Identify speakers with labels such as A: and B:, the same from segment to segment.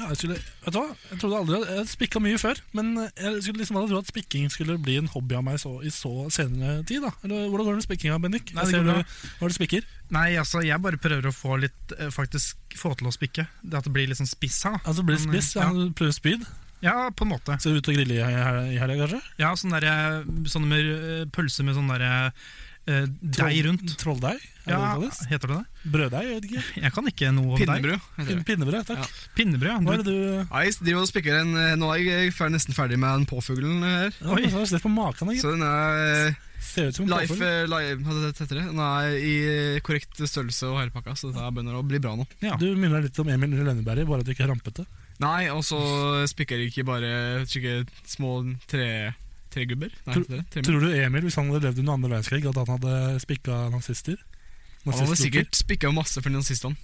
A: Ja, jeg skulle, vet du hva? Jeg trodde aldri Jeg spikka mye før, men jeg skulle liksom aldri tro at spikking skulle bli en hobby av meg så, i så senere tid. da Eller Hvordan går det med spikkinga, Bendik?
B: Nei,
A: Jeg
B: det
A: ser
B: går
A: du,
B: bra.
A: når du spikker
B: Nei, altså, jeg bare prøver å få litt eh, Faktisk få til å spikke. Det at det blir litt sånn spiss her. da.
A: Altså blir det
B: Men, eh,
A: spiss, ja. prøver spyd.
B: Ja, ja på en måte.
A: Skal du ut og grille i hel- i helga, kanskje?
B: Ja, sånn der, eh, sånne med eh, pølse med sånn derre eh, deig rundt.
A: Trolldeig? er
B: Ja,
A: det det kalles?
B: heter det det?
A: Brøddeig? Jeg vet ikke.
B: Jeg kan ikke noe om deig.
C: Pinnebrød. heter det.
A: Pinnebrød, takk.
B: Pinnebrød.
A: Hva
B: ja.
A: er det du
C: Nei, jeg driver og spikker en eh, Nå er jeg fer- nesten ferdig med den påfuglen eh, her.
A: ja, Oi. Har du sett på maken? da, gitt?
C: Så den er eh,
A: Ser ut som en
C: life,
A: påfugl.
C: eh, live, hva heter det? Den er i eh, korrekt størrelse og hele pakka, så dette her begynner å bli bra nå.
B: Ja.
A: Du minner meg litt om Emil Lønneberg, bare at du ikke er rampete.
C: Nei, og så spikker jeg ikke bare slike små tre, tregubber. Nei,
A: Tror-
C: heter det? Tre-
A: Tror du Emil, hvis han hadde levd under andre verdenskrig, at han hadde spikka nazister?
C: Han hadde
A: Nazistloker?
C: sikkert spikka masse for nazistene.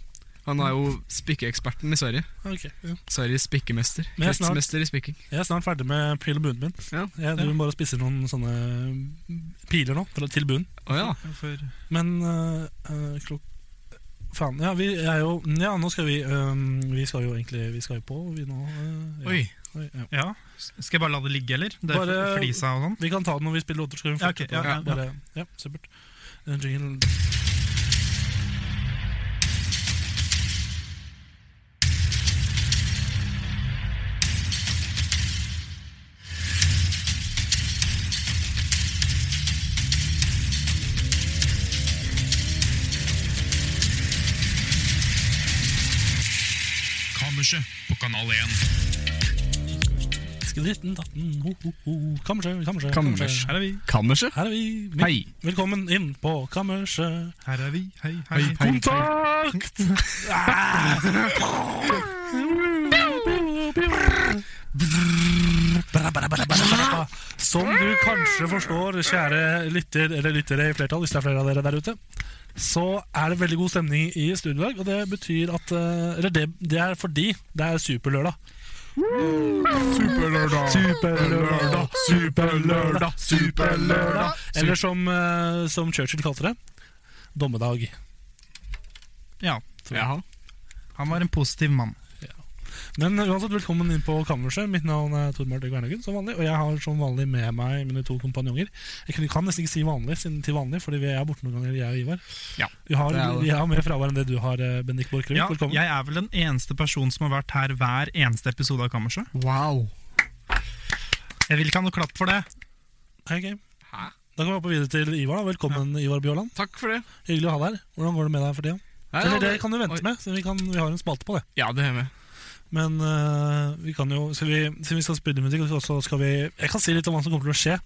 C: Han er jo spikkeeksperten i Sverige.
A: Ok, ja.
C: Sveriges spikkemester.
A: Men jeg er snart-
C: Kretsmester i spikking.
A: Jeg er snart ferdig med pil og buen min.
C: Ja,
A: Jeg driver bare og spisser noen sånne piler nå, fra- til buen.
C: Å ja.
B: For,
A: Men øh, øh, klok... Faen. Ja, vi er jo Ja, nå skal vi øhm, Vi skal jo egentlig Vi skal jo på, vi nå. øh, ja.
B: oi.
A: Oi, ja.
B: Ja. Skal jeg bare la det ligge, eller? Det er
A: Bare-
B: flisa og sånn.
A: Vi kan ta det når vi spiller låter. Skal vi
B: Ja, ok, ja, ja, ja.
A: Bare, ja, supert. En jingle. Skritten, datten, ho, ho, ho. Kammerset, kammerset, kammerset.
B: Her er vi.
C: Kammerset?
A: Her er vi. Min-
C: Hei.
A: Velkommen inn på kammerset.
B: Her er vi. Hei, hei.
A: Kontakt! Ah! Som du kanskje forstår, kjære lytter, eller lyttere i flertall, hvis det er flere av dere der ute, så er det veldig god stemning i studio i dag. Og det betyr at eh, Eller det, det er fordi det er superlørdag.
C: Superlørdag.
A: Superlørdag, superlørdag, superlørdag. Eller som, eh, som Churchill kalte det, dommedag.
B: Ja.
C: Jaha.
B: Han var en positiv mann.
A: Men uansett, velkommen inn på kammerset. Mitt navn er Tor Martin Kvernhagen, som vanlig. Og jeg har som vanlig med meg mine to kompanjonger. Jeg kunne- kan nesten ikke si vanlig, siden til vanlig, fordi vi er borte noen ganger, jeg og Ivar.
B: Ja,
A: vi, har,
C: det er det.
A: vi har mer fravær enn det du har, eh, Bendik Borchgrevink.
B: Ja,
A: Velkommen.
B: jeg er vel den eneste personen som har vært her hver eneste episode av Kammerset.
C: Wow.
B: Jeg vil ikke ha noe klapp for det.
A: Hei, ok.
C: Hæ?
A: Da kan vi hoppe videre til Ivar. da. Velkommen, Ivar Bjørland.
C: Takk for det.
A: Hyggelig å ha deg her. Hvordan går det med deg for tida?
C: Nei,
A: Eller
C: ja,
A: det kan du vente
C: oi.
A: med, så vi, kan, vi har en spalte på det.
C: Ja, det er med.
A: Men eh, vi kan jo Siden vi, siden vi skal spille musikk, så skal vi Jeg kan si litt om hva som kommer til å skje.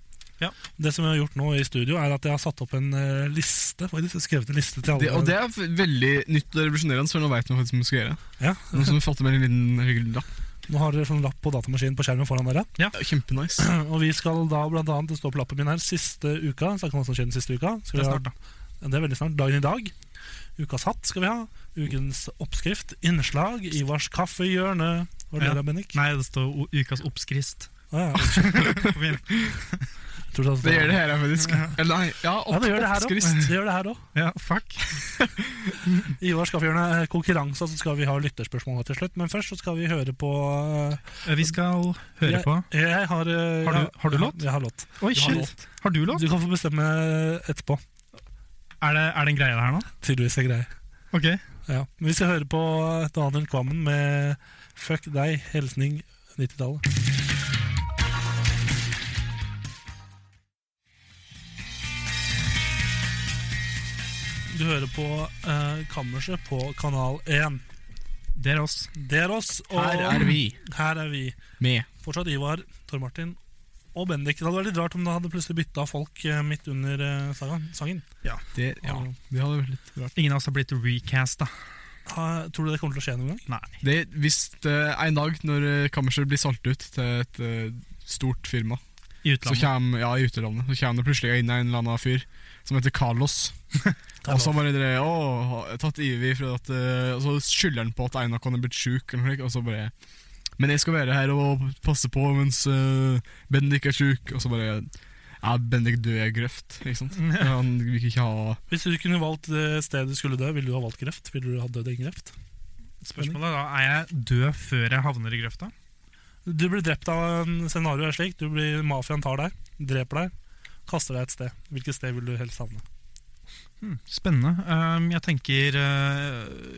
B: Ja.
A: Det som jeg har gjort nå i studio, er at jeg har satt opp en eh, liste. Faktisk, jeg har skrevet en liste til alle.
C: Det, og det er f- veldig nytt og revolusjonerende, for nå veit man faktisk hva man skal gjøre.
A: Ja.
C: Noen som fatter med en liten hyggelig lapp.
A: Nå har dere sånn lapp på datamaskinen på skjermen foran dere.
C: Ja, Kjempenice.
A: Og vi skal da blant annet, det står på lappen min her, siste uka. Snakke om hva som skjedde den siste uka. Skal vi
B: Det er
A: ha-
B: snart, da.
A: det er veldig snart. Dagen i dag. Ukas hatt skal vi ha. Ukens oppskrift. Innslag. Ivars kaffehjørne. Var det
B: Ja.
A: det, Bennik?
B: Nei, det står o- ukas oppskrift.
A: Ah, ja.
B: Kom igjen.
A: Jeg tror det,
C: Det gjør det her, faktisk. Eller nei, ja,
A: Ja,
C: opp,
A: det gjør det her
C: oppskrift.
A: også. Det gjør det her også.
B: Ja, fuck.
A: Ivar skal vi gjøre en eh, konkurranse, så skal vi ha lytterspørsmål til slutt. Men først så skal vi høre på eh,
B: Eh, Vi skal høre
A: jeg,
B: på
A: Jeg har, eh,
B: Har du-
A: jeg-
B: har du låt?
A: Jeg har låt.
B: Oi,
A: Du har
B: shit. Har du låt?
A: Du kan få bestemme eh, etterpå.
B: Er det, er det en greie det her nå?
A: Tydeligvis er greie.
B: Ok.
A: Ja. Men vi skal høre på eh, Daniel Kvammen med 'Fuck deg, hilsning 90-tallet'. Du hører på eh, Kammerset på Kanal 1.
B: Det er oss.
A: Det er oss, og
C: Her er vi
A: her er vi.
C: med.
A: Fortsatt Ivar, Tor Martin og Bendik. Det hadde vært litt rart om det hadde plutselig bytta folk eh, midt under eh, sangen. sangen.
C: Det, ja, det hadde vært litt rart.
B: Ingen av oss har blitt recasta.
A: Ha- tror du det kommer til å skje noen gang?
B: Nei.
C: Det, hvis det, en dag når eh, kammerset blir solgt ut til et eh, stort firma,
B: i
C: Så
B: utlandet.
C: kommer, ja, i utelandet, så kommer det plutselig inn en eller annen fyr som heter Carlos. og så bare dere, å, har tatt Ivi for at eh», Og så skylder han på at Einakon er blitt sjuk, eller noe slikt, og så bare Men jeg skal være her og passe på mens eh, Bendik er sjuk, og så bare Ja, Bendik dør i grøft, ikke sant. Han vil ikke ha
A: Hvis du kunne valgt det stedet du skulle dø, ville du ha valgt kreft? Ville du ha dødd i kreft?
B: Spørsmålet er da, er jeg død før jeg havner i grøfta?
A: Du blir drept av en scenario er slik. Du blir, mafiaen tar deg, dreper deg, kaster deg et sted. Hvilket sted vil du helst havne?
B: Hmm, Spennende. Um, jeg tenker eh,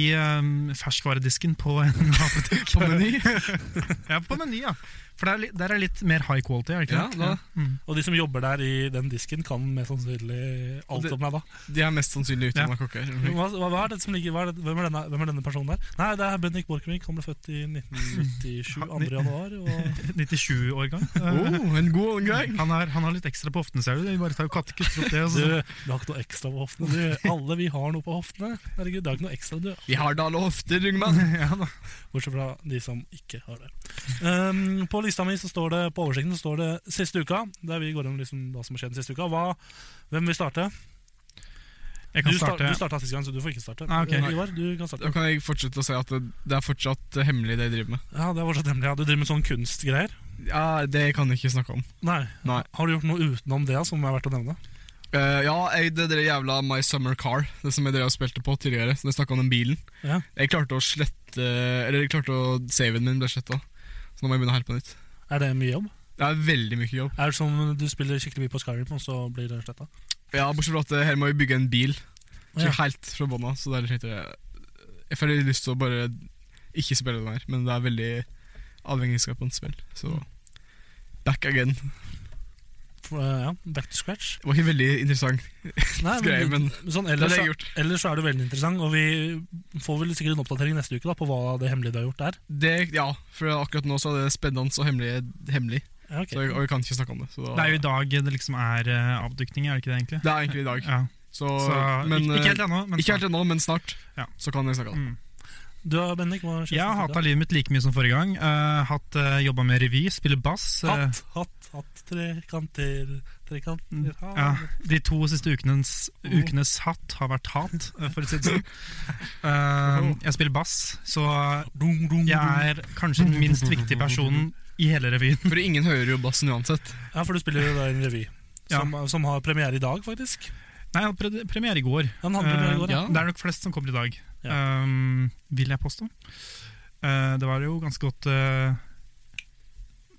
B: i um, ferskvaredisken på en apotek. på Meny. ja, på Meny, ja. For der, er li- der er litt mer high quality, er det ikke
C: Ja,
B: det?
C: da.
B: Mm.
A: Og de som jobber der i den disken, kan mest sannsynlig alt
C: Og det- Mm.
A: om deg da.
C: De er mest sannsynlig
B: Ja.
C: utdanna kokker. eller noe slikt.
A: Hva, hva, hva er det som ligger, hva er det, hvem, er denne, hvem er denne personen der? Nei, det er Bendik Borchgrevink. Han ble født i 1997, 2. januar. Og
B: 97-årgang.
C: Oh, en god gang!
B: Eh, han, er- han har litt ekstra på hoften, ser du. Vi bare tar jo kattekutter opp det.
A: du,
B: Altså.
A: du har ikke noe ekstra på hoftene, du. Alle vi har noe på hoftene. Herregud, det er ikke noe ekstra, du.
C: Vi har da lofter, unge mann.
B: ja, da.
A: Bortsett fra de som ikke har det. Ehm, på lista mi så står det på oversikten så står det siste uka. Der vi går gjennom liksom hva som har skjedd den siste uka. Hva, hvem vil starte?
B: Jeg
A: Du,
B: kan
A: sta-
B: starte.
A: du starta sist gang, så du får ikke starte.
B: Ah, ok.
A: Eh, Ivar, du kan starte.
C: Da kan jeg fortsette å si at det, det er fortsatt eh, hemmelig, det jeg driver med.
A: Ja, det er fortsatt hemmelig. Ja. Du driver med sånn kunstgreier?
C: Ja, Det kan jeg ikke snakke om.
A: Nei.
C: Nei.
A: Har du gjort noe utenom det som er verdt å nevne?
C: Eh, ja, jeg, det der jævla My Summer Car, det som jeg drev og spilte på tidligere. Så jeg snakket om den bilen.
A: Ja.
C: Jeg klarte å slette Eller jeg klarte å saven min ble sletta. Så nå må jeg begynne helt på nytt.
A: Er det mye jobb?
C: Det er veldig mye jobb.
A: Er det som du spiller skikkelig mye på Skyrim, og så blir det sletta?
C: Ja, Bortsett fra at eh, her må vi bygge en bil
A: Ja.
C: Så helt fra bånn av. Så det er litt eh, Jeg får litt lyst til å bare ikke spille den her, men det er veldig avhengighetsskapende spill. Så back again.
A: For, eh, Ja, back to scratch.
C: Det var ikke veldig interessant,
A: Nei,
C: greie, men
A: sånn
C: det
A: ellers,
C: har jeg
A: så-
C: gjort.
A: ellers så er det veldig interessant, og vi får vel sikkert en oppdatering neste uke da, på hva det hemmelige du har gjort der.
C: Det, ja, for akkurat nå så er det spennende og hemmelig. hemmelig
A: Ja, ok.
C: så jeg, og jeg kan ikke snakke om det. Så da,
B: Det er jo i dag det liksom er eh, avdukning, er det ikke det egentlig?
C: det er egentlig i dag.
B: Ja,
C: Så,
B: så,
C: men,
B: ikke,
C: eh,
B: ikke helt ennå, men
C: ikke helt ennå, men snart
B: Ja.
C: så kan jeg snakke om det.
B: Mm.
A: Du har Bendik, hva har skjedd?
B: Jeg har
A: siste
B: hata livet mitt like mye som forrige gang. Eh, hatt uh, jobba med revy, spiller bass.
A: uka?
B: eh,
A: Hatt, hatt, hatt, trekanter, trekanter ha.
B: Ja, De to siste ukenes, ukenes hatt har vært hat, eh, for å si det sånn. Eh, jeg spiller bass, så
A: Dum, dum,
B: jeg
A: dum.
B: er kanskje den minst viktige personen i hele revyen.
C: For ingen hører jo bassen uansett.
A: ja, for du spiller jo da i en revy.
B: Ja.
A: Som, som har premiere i dag, faktisk.
B: Nei, jeg hadde pre- premiere i går.
A: Han hadde premiere i går,
B: Eh, Det er nok flest som kommer i dag,
A: Ja.
B: Eh, vil jeg påstå. Eh, det var jo ganske godt eh,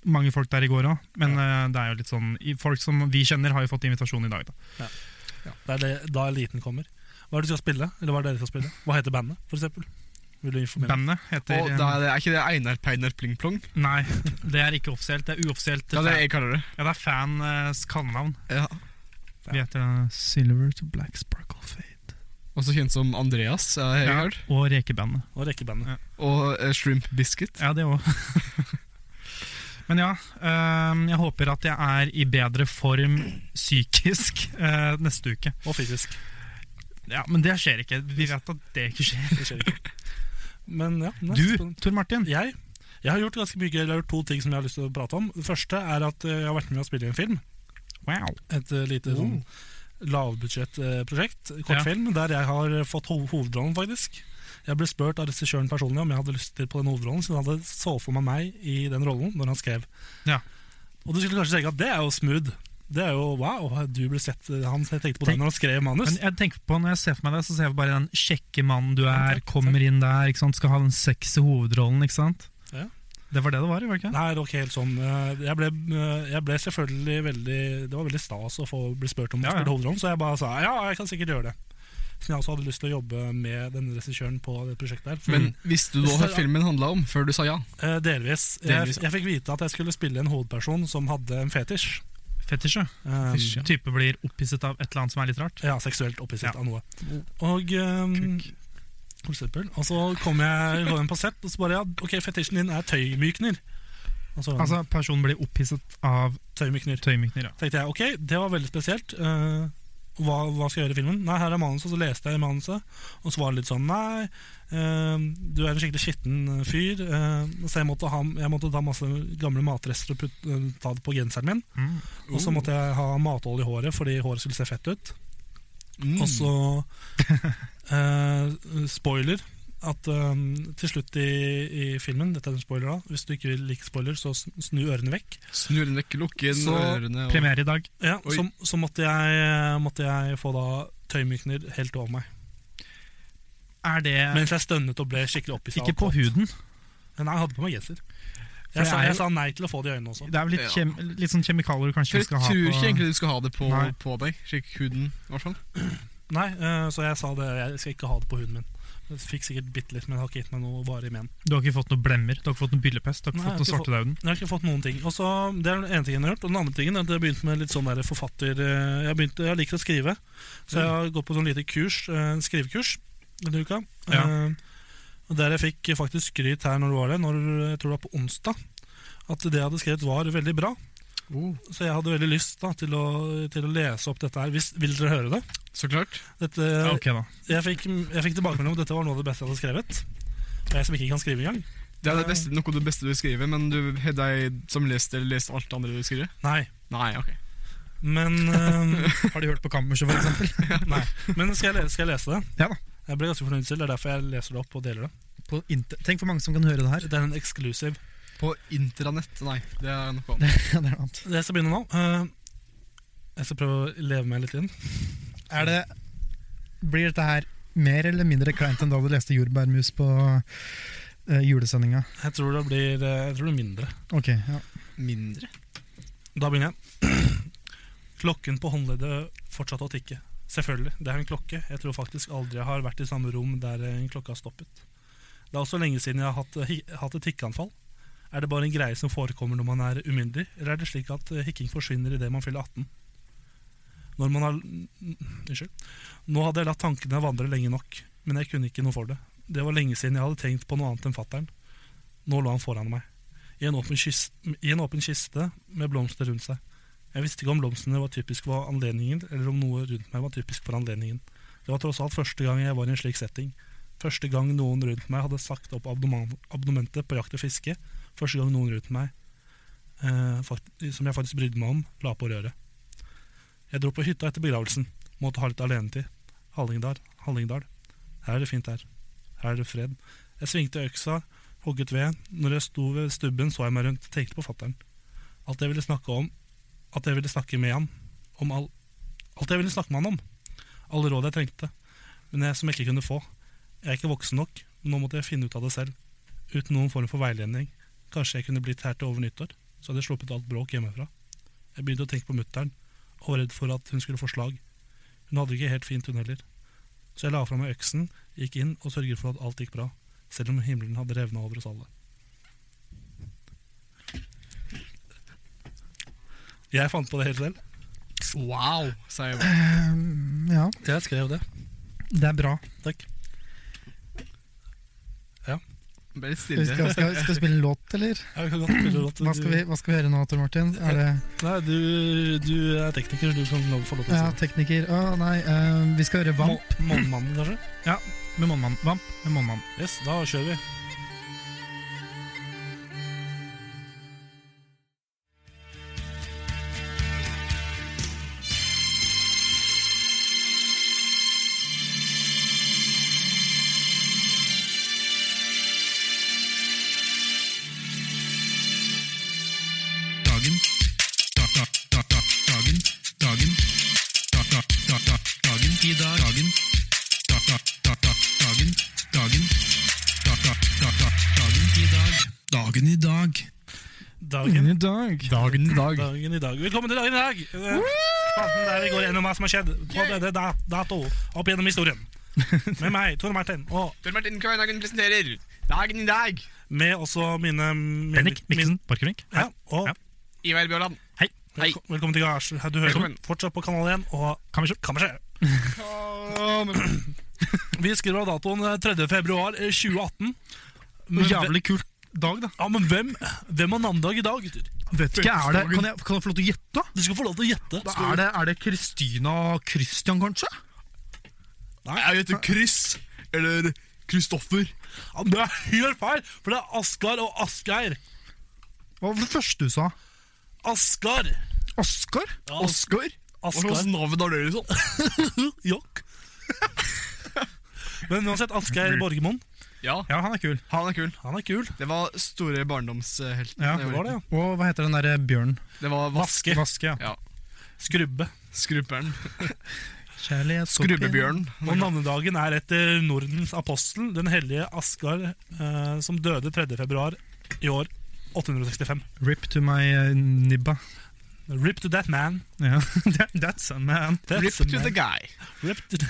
B: mange folk der i går òg, men eh, det er jo litt sånn i- Folk som vi kjenner, har jo fått invitasjon i dag, da.
A: Det er det, da eliten kommer. Hva er det du skal spille? Eller hva er det dere skal spille? Hva heter bandet, for eksempel? Vil du informere?
B: Bandet heter eh,
C: Og da er, det, er ikke det Einar Peinar Pling Plong?
B: Nei, det er ikke offisielt. Det er uoffisielt.
C: Det er det jeg kaller det.
B: Ja, det er fans kallenavn.
C: Ja.
B: Vi heter da Silver to Black Sparkle Fade.
C: Også kjent som Andreas. er jeg hørt.
B: Og Rekebandet.
A: Og rekkebandet.
C: Og eh, Shrimp Biscuit.
B: Ja, det òg. Men ja, øhm, jeg håper at jeg er i bedre form psykisk øh, neste uke.
A: Og fysisk.
B: Ja, Men det skjer ikke. Vi vet at det ikke skjer.
A: Det skjer ikke. Men ja. nei,
B: Du,
A: spennende.
B: Tor Martin.
A: Jeg, jeg har gjort ganske mye gøy. Jeg har gjort to ting som jeg har lyst til å prate om. Det første er at eh, jeg har vært med å spille i en film.
B: Wow.
A: Et eh, lite sånn lavbudsjettprosjekt,
B: Oh. Ja.
A: kortfilm, der jeg har eh, fått ho hovedrollen, faktisk. Jeg ble spurt av regissøren personlig om jeg hadde lyst til på den hovedrollen, siden han hadde så for meg meg i den rollen når han skrev.
B: Ja.
A: Og du skulle kanskje tenke at det er jo smooth. Det er jo wow, du ble sett eh, Han tenkte på det
B: Tenk-
A: når han skrev manus.
B: Men jeg tenker på Når jeg ser for meg deg, så ser jeg bare den kjekke mannen du er, kommer inn der, ikke sant? skal ha den sexy hovedrollen, ikke sant?
A: Ja.
B: Det var det det var, var det ikke?
A: Nei, det var ikke helt sånn. Eh, Jeg ble, eh, jeg ble selvfølgelig veldig Det var veldig stas å få bli spurt om å
B: Ja, ja.
A: spille hovedrollen, så jeg bare sa ja, jeg kan sikkert gjøre det. Siden jeg også hadde lyst til å jobbe med denne regissøren på det prosjektet her.
C: Men visste du da hva
A: Så-
C: filmen handla om, før du sa ja?
A: Eh, delvis.
C: Delvis,
A: jeg,
C: ja.
A: jeg fikk vite at jeg skulle spille en hovedperson som hadde en fetisj.
B: Fetisj, ja.
A: Um,
C: Fetisj, ja.
B: type blir opphisset av et eller annet som er litt rart.
A: ja, seksuelt opphisset
B: Ja.
A: av noe. Og um,
C: Kuk.
A: for eksempel, Og så kom jeg kom inn på sett, og så bare ja, ok, fetisjen din er tøymykner. Altså,
B: Altså, personen blir opphisset av
A: tøymykner.
B: tøymykner. Ja.
A: Tenkte jeg, ok, det var veldig spesielt. eh, hva, hva skal jeg gjøre i filmen? Nei, her er manuset, og så leste jeg manuset, og så var det litt sånn Nei, eh, du er en skikkelig skitten fyr, eh, så jeg måtte, ha, jeg måtte ta masse gamle matrester og putt, eh, ta det på genseren min.
B: Mm.
A: Og så måtte jeg ha matolje i håret fordi håret skulle se fett ut.
C: Mm.
A: Og så eh, Spoiler. At eh, til slutt i, i filmen, dette er en spoiler da, hvis du ikke liker spoiler, så sn- snu ørene vekk.
C: Snur den vekk, lukke inn
A: Så,
C: ørene og
B: Premiere i dag.
A: Ja,
C: Oi.
A: så, så måtte jeg, måtte jeg få da tøymykner helt over meg.
B: Er det
A: Mens jeg stønnet og ble skikkelig opphissa.
B: ikke på huden?
A: Men jeg hadde på meg genser.
B: det
A: Jeg, sa-
B: er
A: jeg
B: jo-
A: sa nei til å få det i øynene også.
B: Det er vel litt,
C: Ja.
B: kjem, litt sånn kjemikalier du kanskje
C: For jeg
B: skal
C: tror
B: ha på
C: ikke egentlig du skal ha det på,
B: Nei.
C: på deg. Sjekk huden, i hvert fall.
A: Nei, eh, Så jeg sa det, jeg skal ikke ha det på huden min. Jeg fikk sikkert bitte litt, men det har ikke gitt meg noe varig men.
B: Du har ikke fått noen blemmer, du har ikke fått noen byllepest, du har ikke
A: Nei,
B: fått noe
A: jeg har ikke
B: svartedauden.
A: Jeg har ikke fått noen ting. Og så, Det er den ene tingen jeg har gjort. Og den andre tingen er at jeg har begynt med litt sånn der forfatter... eh, Jeg, har begynt, jeg liker å skrive, så jeg har gått på sånn lite kurs, eh, skrivekurs denne uka.
B: Ja.
A: Eh, Og Der jeg fikk faktisk skryt her når du var der, når, jeg tror det var på onsdag, at det jeg hadde skrevet var veldig bra. Så jeg hadde veldig lyst da, til, å, til å lese opp dette her. Hvis, vil dere høre det?
C: Så klart.
A: Dette,
B: Ja, ok da.
A: jeg, fikk, jeg fikk tilbakemelding om at dette var noe av det beste jeg hadde skrevet. Og jeg som ikke kan skrive engang.
C: Det er det beste, noe av det beste du skriver, men du har deg som lest eller lest alt det andre du skriver?
A: Nei.
C: Nei, ok.
A: Men eh,
B: Har de hørt på Kammerset, for eksempel?
A: Nei, men skal jeg, le- skal jeg lese det?
B: Ja da.
A: Jeg ble ganske fornøyd selv, det er derfor jeg leser det opp og deler det.
B: På inter Tenk hvor mange som kan høre det her.
A: Det er en eksklusiv.
C: På intranett? Nei, det er noe annet.
B: Ja, det er, noe annet.
A: Jeg skal begynne nå. Eh, Jeg skal prøve å leve meg litt inn.
B: er det Blir dette her mer eller mindre kleint enn da du leste Jordbærmus på eh, julesendinga?
A: Jeg tror det blir eh, jeg tror det blir mindre.
B: Ok, ja.
C: Mindre?
A: Da begynner jeg. Klokken på håndleddet fortsatte å tikke. Selvfølgelig, det er en klokke. Jeg tror faktisk aldri jeg har vært i samme rom der en klokke har stoppet. Det er også lenge siden jeg har hatt, hi, hatt et tikkeanfall. Er det bare en greie som forekommer når man er umyndig, eller er det slik at eh, hikking forsvinner idet man fyller 18? Når man har n- Unnskyld. Nå hadde jeg latt tankene vandre lenge nok, men jeg kunne ikke noe for det. Det var lenge siden jeg hadde tenkt på noe annet enn fattern. Nå lå han foran meg i en åpen, kys i en åpen kiste med blomster rundt seg. Jeg visste ikke om blomstene var typisk for anledningen, eller om noe rundt meg var typisk for anledningen. Det var tross alt første gang jeg var i en slik setting. Første gang noen rundt meg hadde sagt opp abdomen- abonnementet på jakt og fiske. Første gang noen rundt meg, eh, fakt som jeg faktisk brydde meg om, la på røret. Jeg dro på hytta etter begravelsen. Måtte ha litt alenetid. Hallingdal, Hallingdal. Her er det fint her. Her er det fred. Jeg svingte øksa hogget ved. Når jeg sto ved stubben, så jeg meg rundt og tenkte på fattern. Alt jeg ville snakke om At jeg ville snakke med han om all, Alt jeg ville snakke med han om. Alle råd jeg trengte, men jeg som jeg ikke kunne få. Jeg er ikke voksen nok, men nå måtte jeg finne ut av det selv. Uten noen form for veiledning. Kanskje jeg kunne blitt her til over nyttår, så hadde jeg sluppet alt bråk hjemmefra. Jeg begynte å tenke på mutter'n, og var redd for at hun skulle få slag. Hun hadde det ikke helt fint, hun heller. Så jeg la fra meg øksen, gikk inn og sørget for at alt gikk bra selv om himmelen hadde revna over oss alle. Jeg fant på det helt selv.
C: Wow, sa jeg bare.
B: Ehm, ja,
A: Jeg skrev det.
B: det er bra.
A: Takk.
C: Bare litt
B: Vi
C: stille.
B: skal, skal, skal vi spille en låt, eller?
A: Jeg kan godt spille låt.
B: Hva skal, vi, hva skal vi høre nå, Tor Martin? Er det
A: Nei, du, du er tekniker, så du kan lov- få lov til å
B: ja,
A: si det.
B: tekniker? Å nei, ehm, vi skal høre Vamp
A: Må- Månemannen, kanskje?
B: med Månmann. Vamp med Månmann.
A: Yes, da kjører vi.
B: Dagen. Dagen. Dagen. Dagen. I dag. Dagen. Dagen. Dagen. Dagen i dag. Dagen
A: Dagen,
B: i dag.
C: i dag. Dagen i dag.
A: Mm. dagen i dag. Velkommen til dagen i dag! Eh, spalten Der vi går gjennom hva som har skjedd på denne da- dato opp gjennom historien. Med meg, Tor Martin, og
C: Tor Martin Kvarnagen presenterer Dagen i dag.
A: med også mine, mine
B: Bennik
A: min-
B: Mikkelsen Parkervink.
A: Ja, og
B: Ja.
C: Ivar Bjørland.
B: Hei.
C: Hei.
A: velko- velkommen til Garasje. Du hører
C: Velkommen.
A: fortsatt på Kanal 1 og
B: Kammerset.
A: Kammerset.
C: Kom.
A: Vi skriver av datoen eh, 3. februar eh, 2018. Men,
B: Jævlig kul dag, da.
A: ve- ja, men hvem, hvem har navnedag i dag, gutter?
B: Vet ikke, er det, kan, jeg, kan jeg få lov til å gjette?
A: Du skal få lov til å gjette.
B: Da er det, er det Christina og Christian, kanskje?
C: Nei, jeg heter Chris eller Kristoffer.
A: Ja, men det er helt feil, for det er Asgar og Asgeir.
B: Hva var det første du sa?
A: Asgar.
B: Oskar?
A: Ja,
C: Oskar? Hva slags
A: Asgar.
C: navn har dere, liksom?
A: Jokk. Men uansett, Asgeir Borgermoen,
C: Ja,
B: Ja, han er kul.
C: han er kul.
A: han er kul.
C: Det var store barndomshelten.
B: Ja,
C: da jeg
A: Det var det,
C: liten.
A: ja.
B: Og hva heter den derre bjørnen?
C: Det var Vask.
A: Vaske.
B: Vaske, ja.
C: Ja.
A: Skrubbe.
C: Skrubberen.
B: Kjærlighet, skorpion.
C: Skrubbebjørn.
A: Og navnedagen er etter Nordens apostel, den hellige Asgar, eh, som døde 3. februar i år 865.
B: Rip to my eh, nibba.
A: Rip to that man.
B: Ja. That, that's a man.
A: That's
C: Rip
A: a
C: to
A: man.
C: the guy.
A: Rip to the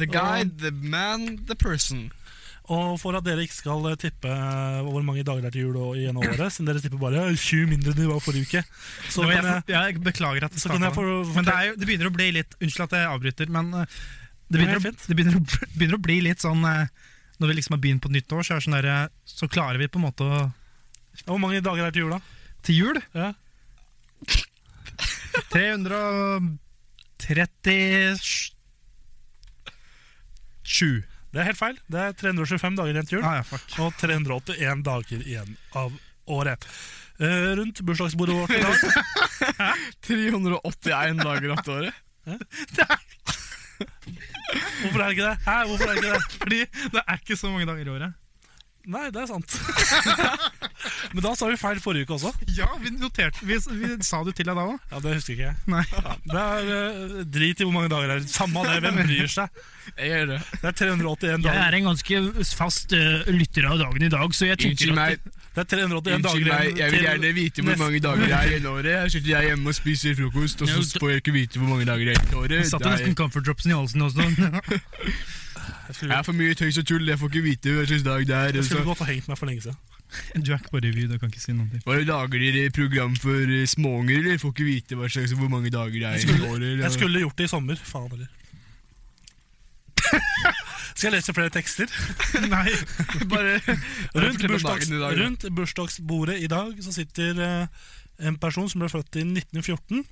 C: The guy, the man, the person.
A: Og for at dere ikke skal eh, tippe eh, hvor mange dager det er til jul og- gjennom året, siden dere tipper bare 20 mindre enn det var forrige uke, så
B: Det var
A: kan jeg,
B: jeg, jeg beklager at det
A: så kan jeg
B: startet
A: få
B: nå. Men det, er jo, det begynner å bli litt Unnskyld at jeg avbryter, men eh, det,
A: Det er
B: begynner å,
A: fint.
B: det begynner, å, begynner å bli litt sånn eh, Når vi liksom har begynt på nytt år, så, er det sånn der, eh, så klarer vi på en måte å
A: Hvor mange dager er det til jul, da?
B: Til jul
A: Ja.
B: 337
A: Det er helt feil. Det er 325 dager igjen til jul,
B: Ah, ja, fuck.
A: og 381 dager igjen av året. Eh, rundt bursdagsbordet vårt i dag
C: 381 dager etter året.
A: Hvorfor er det ikke det? Hæ, hvorfor er det ikke det?
B: Fordi det er ikke så mange dager i året.
A: Nei, det er sant. Men da sa vi feil forrige uke også.
B: Ja, vi noterte Vi, vi sa det til deg da òg.
A: Ja, Det husker ikke jeg.
B: Nei.
A: Ja, det er eh, Drit i hvor mange dager det er. Samme av det, hvem bryr seg?
C: Jeg gjør det.
A: Det er 381
D: Jeg
A: dager.
D: er en ganske fast eh, lytter av dagen i dag, så jeg tenker
C: Unnskyld
D: at
C: meg,
A: Det er 381
C: unnskyld
A: dager
C: meg, jeg vil
A: til-
C: gjerne vite hvor
A: neste-
C: mange dager det er igjen i året. Jeg sitter jeg hjemme og spiser frokost, og så får jeg ikke vite hvor mange dager det er igjen i
D: jeg
C: året.
D: satte
C: Det er-
D: nesten comfort dropsen i halsen også.
C: Jeg er for mye tøys og tull, jeg får ikke vite hva slags dag det er.
A: Jeg
C: og
A: skulle
C: så-
A: godt ha hengt meg for lenge siden.
B: Du er ikke på revy, du kan ikke si noen ting.
C: Bare lager dere program for eh, småunger, eller får ikke vite hva slags, hvor mange dager det er
A: Jeg
C: igjen i
A: skulle,
C: året?
A: jeg
C: eller-
A: skulle gjort det i sommer. Faen heller. Skal jeg lese flere tekster?
B: Nei,
C: Bare
A: Rundt,
C: Fortell om
A: bursdags,
C: dagen i dag, da.
A: rundt bursdagsbordet i dag så sitter eh, en person som ble født i 1914.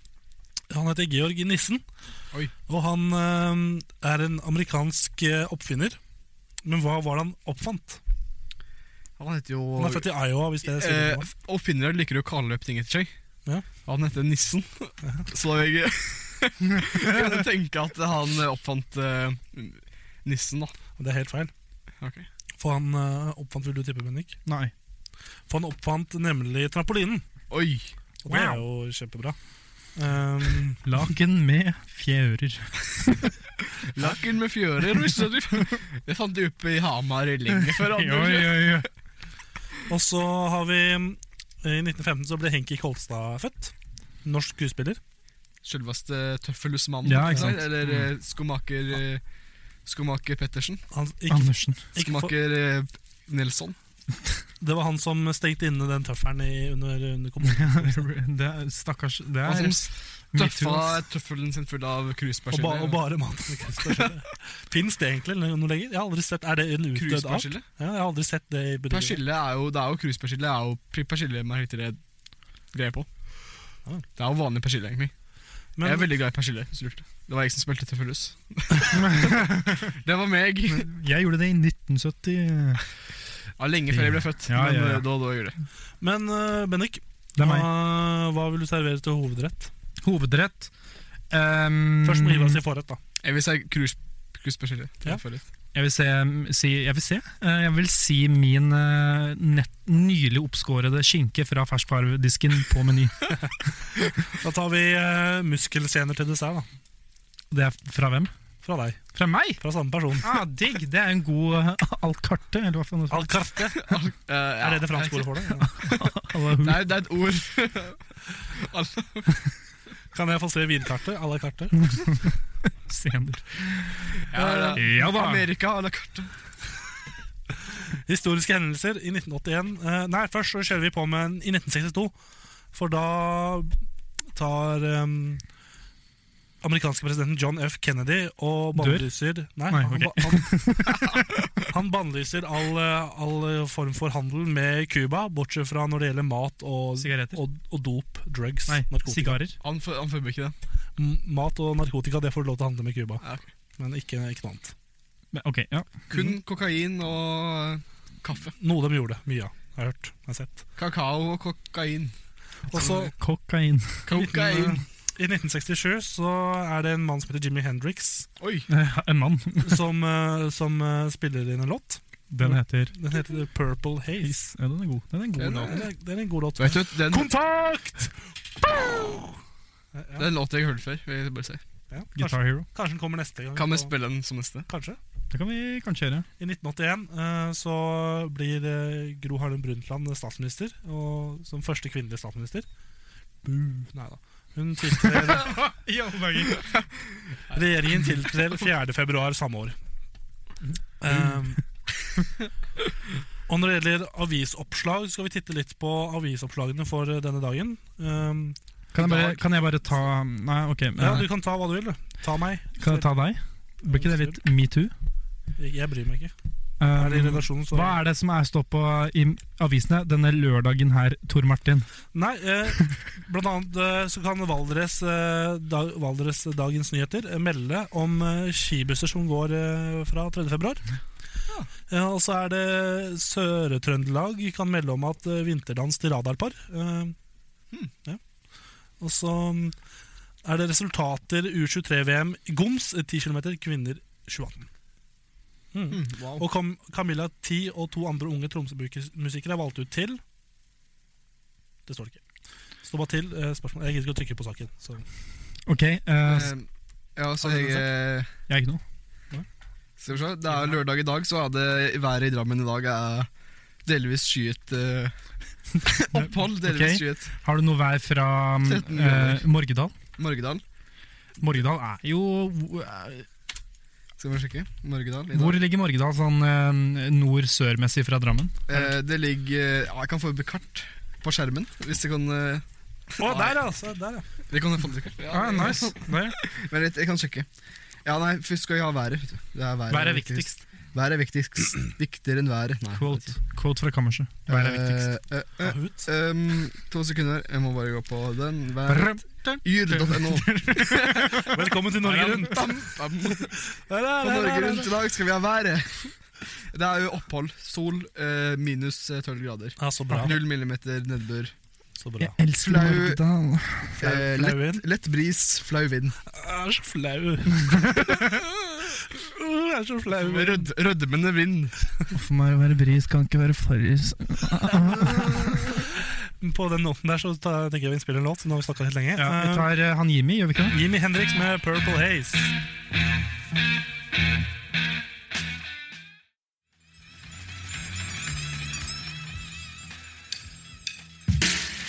A: Han heter Georg Nissen,
C: Oi.
A: og han eh, er en amerikansk eh, oppfinner. Men hva var det han oppfant?
C: Han heter
A: Han
C: jo
A: er født i Iowa, hvis det sier
C: eh,
A: noe.
C: Oppfinnere liker å kalle opp ting etter seg.
A: Ja.
C: Han heter Nissen. Så jeg, jeg kan tenke at han oppfant eh, nissen, da.
A: Det er helt feil.
C: Ok.
A: For han eh, oppfant, vil du tippe, Bendik?
B: Nei.
A: For han oppfant nemlig trampolinen.
C: Oi!
A: Og det er jo kjempebra. Um,
B: Laken med fjærer.
C: Lakken med fjører. visste du? Det fant du oppe i Hamar lenge før.
B: Oi,
C: Anders.
B: oi, oi.
A: Og så har vi I 1915 så ble Henki Kolstad født. Norsk skuespiller.
C: Selveste tøffelhusmannen.
B: Ja, ikke sant.
C: der, Eller
A: Mm.
C: eh, skomaker eh, Skomaker Pettersen.
A: Han, ikke,
B: Andersen.
A: ikke for,
C: Skomaker eh, Nelson.
A: det var han som stengte inne den tøffelen i- under, under kommunen.
B: Det er, stakkars Det er
C: Han som
B: Me too,
C: Altså, tøffa
B: ass.
C: tøffelen sin full av
A: Og, ba, og
C: cruisepersille.
A: bare mannen. Fins det egentlig noe noe lenger? Jeg har aldri sett, Er det en utdødd art?
C: Cruisepersille?
A: Ja, jeg har aldri sett det i bedrifter.
C: Persille er jo, det er jo cruisepersille, er jo pri- persille man heter det greier på.
A: Ah.
C: Det er jo vanlig persille, egentlig.
A: Men
C: jeg er veldig glad i persille. hvis du lurte. Det var jeg som spilte Tøffelhus. det var meg.
B: Jeg gjorde det i eh, 1970.
C: Ja, lenge før jeg ble født.
B: Ja, ja,
C: men
B: ja.
C: eh, da, da gjorde jeg det.
A: men eh, Bennik,
B: Det er meg.
A: hva, hva vil du servere til hovedrett?
B: Hovedrett. Um,
A: Først må vi gi oss i forrett, da.
C: Jeg vil si cruise- cruisepersille. til
A: Ja.
C: Tøffelhus.
B: Jeg vil se, si, jeg vil, se. Eh, jeg vil si min eh, nett, nylig oppskårede skinke fra ferskvaredisken på Meny.
A: Da tar vi eh, muskelsener til dessert, da.
B: Det er fra hvem?
A: Fra deg.
B: Fra meg!
A: Fra samme person.
B: Ah, digg! Det er en god uh, alcarte. Eller hva faen det
A: Al carte.
C: Eh, ja,
A: Er det det franske
C: jeg-
A: ordet for det? Ja.
B: Alla hu-
C: Nei, det er et ord.
A: Kan jeg få se vinkartet? Alle karter?
B: scener.
C: Ja, det er-
B: Ja da!
C: Eh, Amerika à la carte.
A: Historiske hendelser i 1981 eh, Nei, først så kjører vi på med en i 1962 For da tar ehm, amerikanske presidenten John F. Kennedy og bannlyser Nei,
B: Nei,
A: han,
B: ok.
A: ba- han, Han bannlyser all, eh, all form for handel med Cuba, bortsett fra når det gjelder mat og,
B: Sigaretter?
A: og, og dop, drugs,
B: Nei,
A: narkotika.
B: sigarer.
C: Han, fø- han forbyr ikke det.
A: M- Mat og narkotika det får du lov til å handle med Cuba,
C: Ja, ok.
A: men ikke, ikke noe annet.
B: Men, Ok, ja.
C: Kun kokain og kaffe.
A: Noe de gjorde, mye av. Har jeg hørt. Har jeg sett.
C: Kakao og kokain.
A: Og så
B: Kokain.
C: Kokain!
A: I 1967 så er det en mann som heter Jimmy Hendrix,
C: Oi!
B: Eh, En mann.
A: som, eh, som eh, spiller inn en låt.
B: Den heter
A: Den heter Purple Haze.
B: Ja, den er god. Den er god.
A: God
C: Den er-
A: låt. Det er- det er en god låt.
C: Vet du, den,
A: Kontakt!
C: den låten jeg hørte før. Vil jeg bare si.
A: Ja, kanskje,
B: Guitar Hero.
A: kanskje den kommer neste gang.
C: Kan vi
A: på-
C: spille den som neste?
A: Kanskje.
B: Det kan vi kanskje gjøre.
A: I 1981 eh, så blir eh, Gro Harlem Brundtland statsminister, og, som første kvinnelige statsminister. Buh, nei da. Hun tiltrer,
B: I alle dager.
A: regjeringen tiltrer 4. februar samme år.
B: Mm.
A: Um, og når det gjelder avisoppslag, skal vi titte litt på avisoppslagene for eh, denne dagen. Um,
B: Kan jeg bare, kan jeg bare ta Nei, ok. men-
A: ja, du kan ta hva du vil. du. Ta meg.
B: Kan jeg ta deg? Blir ikke det litt metoo?
A: Jeg, jeg bryr meg ikke. Er det i
B: Um,
A: redaksjonen, så
B: hva er det som er stå på i avisene denne lørdagen her, Tor Martin?
A: Nei, eh, blant annet eh, så kan Valdres, eh, dag, Valdres Dagens Nyheter eh, melde om eh, skibusser som går eh, fra 3. februar. Eh, og så er det Sør-Trøndelag kan melde om at eh, vinterdans til radarpar. Eh, ja. Og så mm, er det resultater U23-VM Goms, eh, 10 km kvinner 2018. Mm.
C: Wow.
A: Og Cam Camilla Ti og to andre unge Tromsø-musikere er valgt ut til Det står det ikke. Stå bare til. eh, spørsmål. Jeg gidder ikke å trykke på saken. Så.
B: Ok, eh, s-
C: Eh, ja, så
A: Har du
C: jeg... eh,
B: jeg er ikke noe.
C: Skal vi se, det er lørdag i dag, så er det været i Drammen i dag er delvis skyet eh, opphold. Delvis
B: Ok.
C: skyet
B: Har du noe vær fra mm,
C: 13
B: eh, Morgedal?
C: Morgedal.
B: Morgedal er jo eh,
C: Skal vi sjekke? Morgedal i dag.
B: Hvor ligger Morgedal sånn eh, nord-sør-messig fra Drammen?
C: Eh, det ligger ja, Jeg kan få opp et kart på skjermen. Hvis jeg kan eh,
A: Å, der, ja! Så, der, ja.
C: Vi kan få opp et kart. Ja, Men litt, jeg kan sjekke. Ja, nei, først skal vi ha været. vet du. Det er været,
B: Vær er viktigst.
C: Været er viktigst. Viktigere enn været. Nei.
B: Quote, quote fra kammerset. Vær er viktigst.
C: Eh, eh,
A: Ta
C: eh,
A: ut.
C: um, to sekunder, jeg må bare gå på den. Vær
B: Brr, brr.
C: Yr.no.
A: Eh, Velkommen til Norge Rundt.
C: Bam, bam.
A: Der, der,
C: På
A: der,
C: Norge
A: der,
C: Rundt
A: der.
C: i dag skal vi ha været. Det er jo opphold. Sol eh, minus eh, 12 grader.
A: Ja, så bra.
C: Null millimeter nedbør.
A: Så
B: Jeg
A: bra.
B: elsker
C: Flau-
B: Morgedal.
A: Flau,
C: Eh,
A: flau vind.
C: Lett bris, flau vind.
A: Jeg er så flau. Jeg er så flau.
C: Rød, rødmende vind.
B: For meg å være bris kan ikke være farris.
A: På den noten der så tar- tenker jeg vi spiller en låt. så Nå har vi snakka litt lenge.
B: Ja, vi
A: Eh,
B: tar eh, han Jimmy, gjør vi ikke det?
A: Jimmy Hendrix med Purple Haze.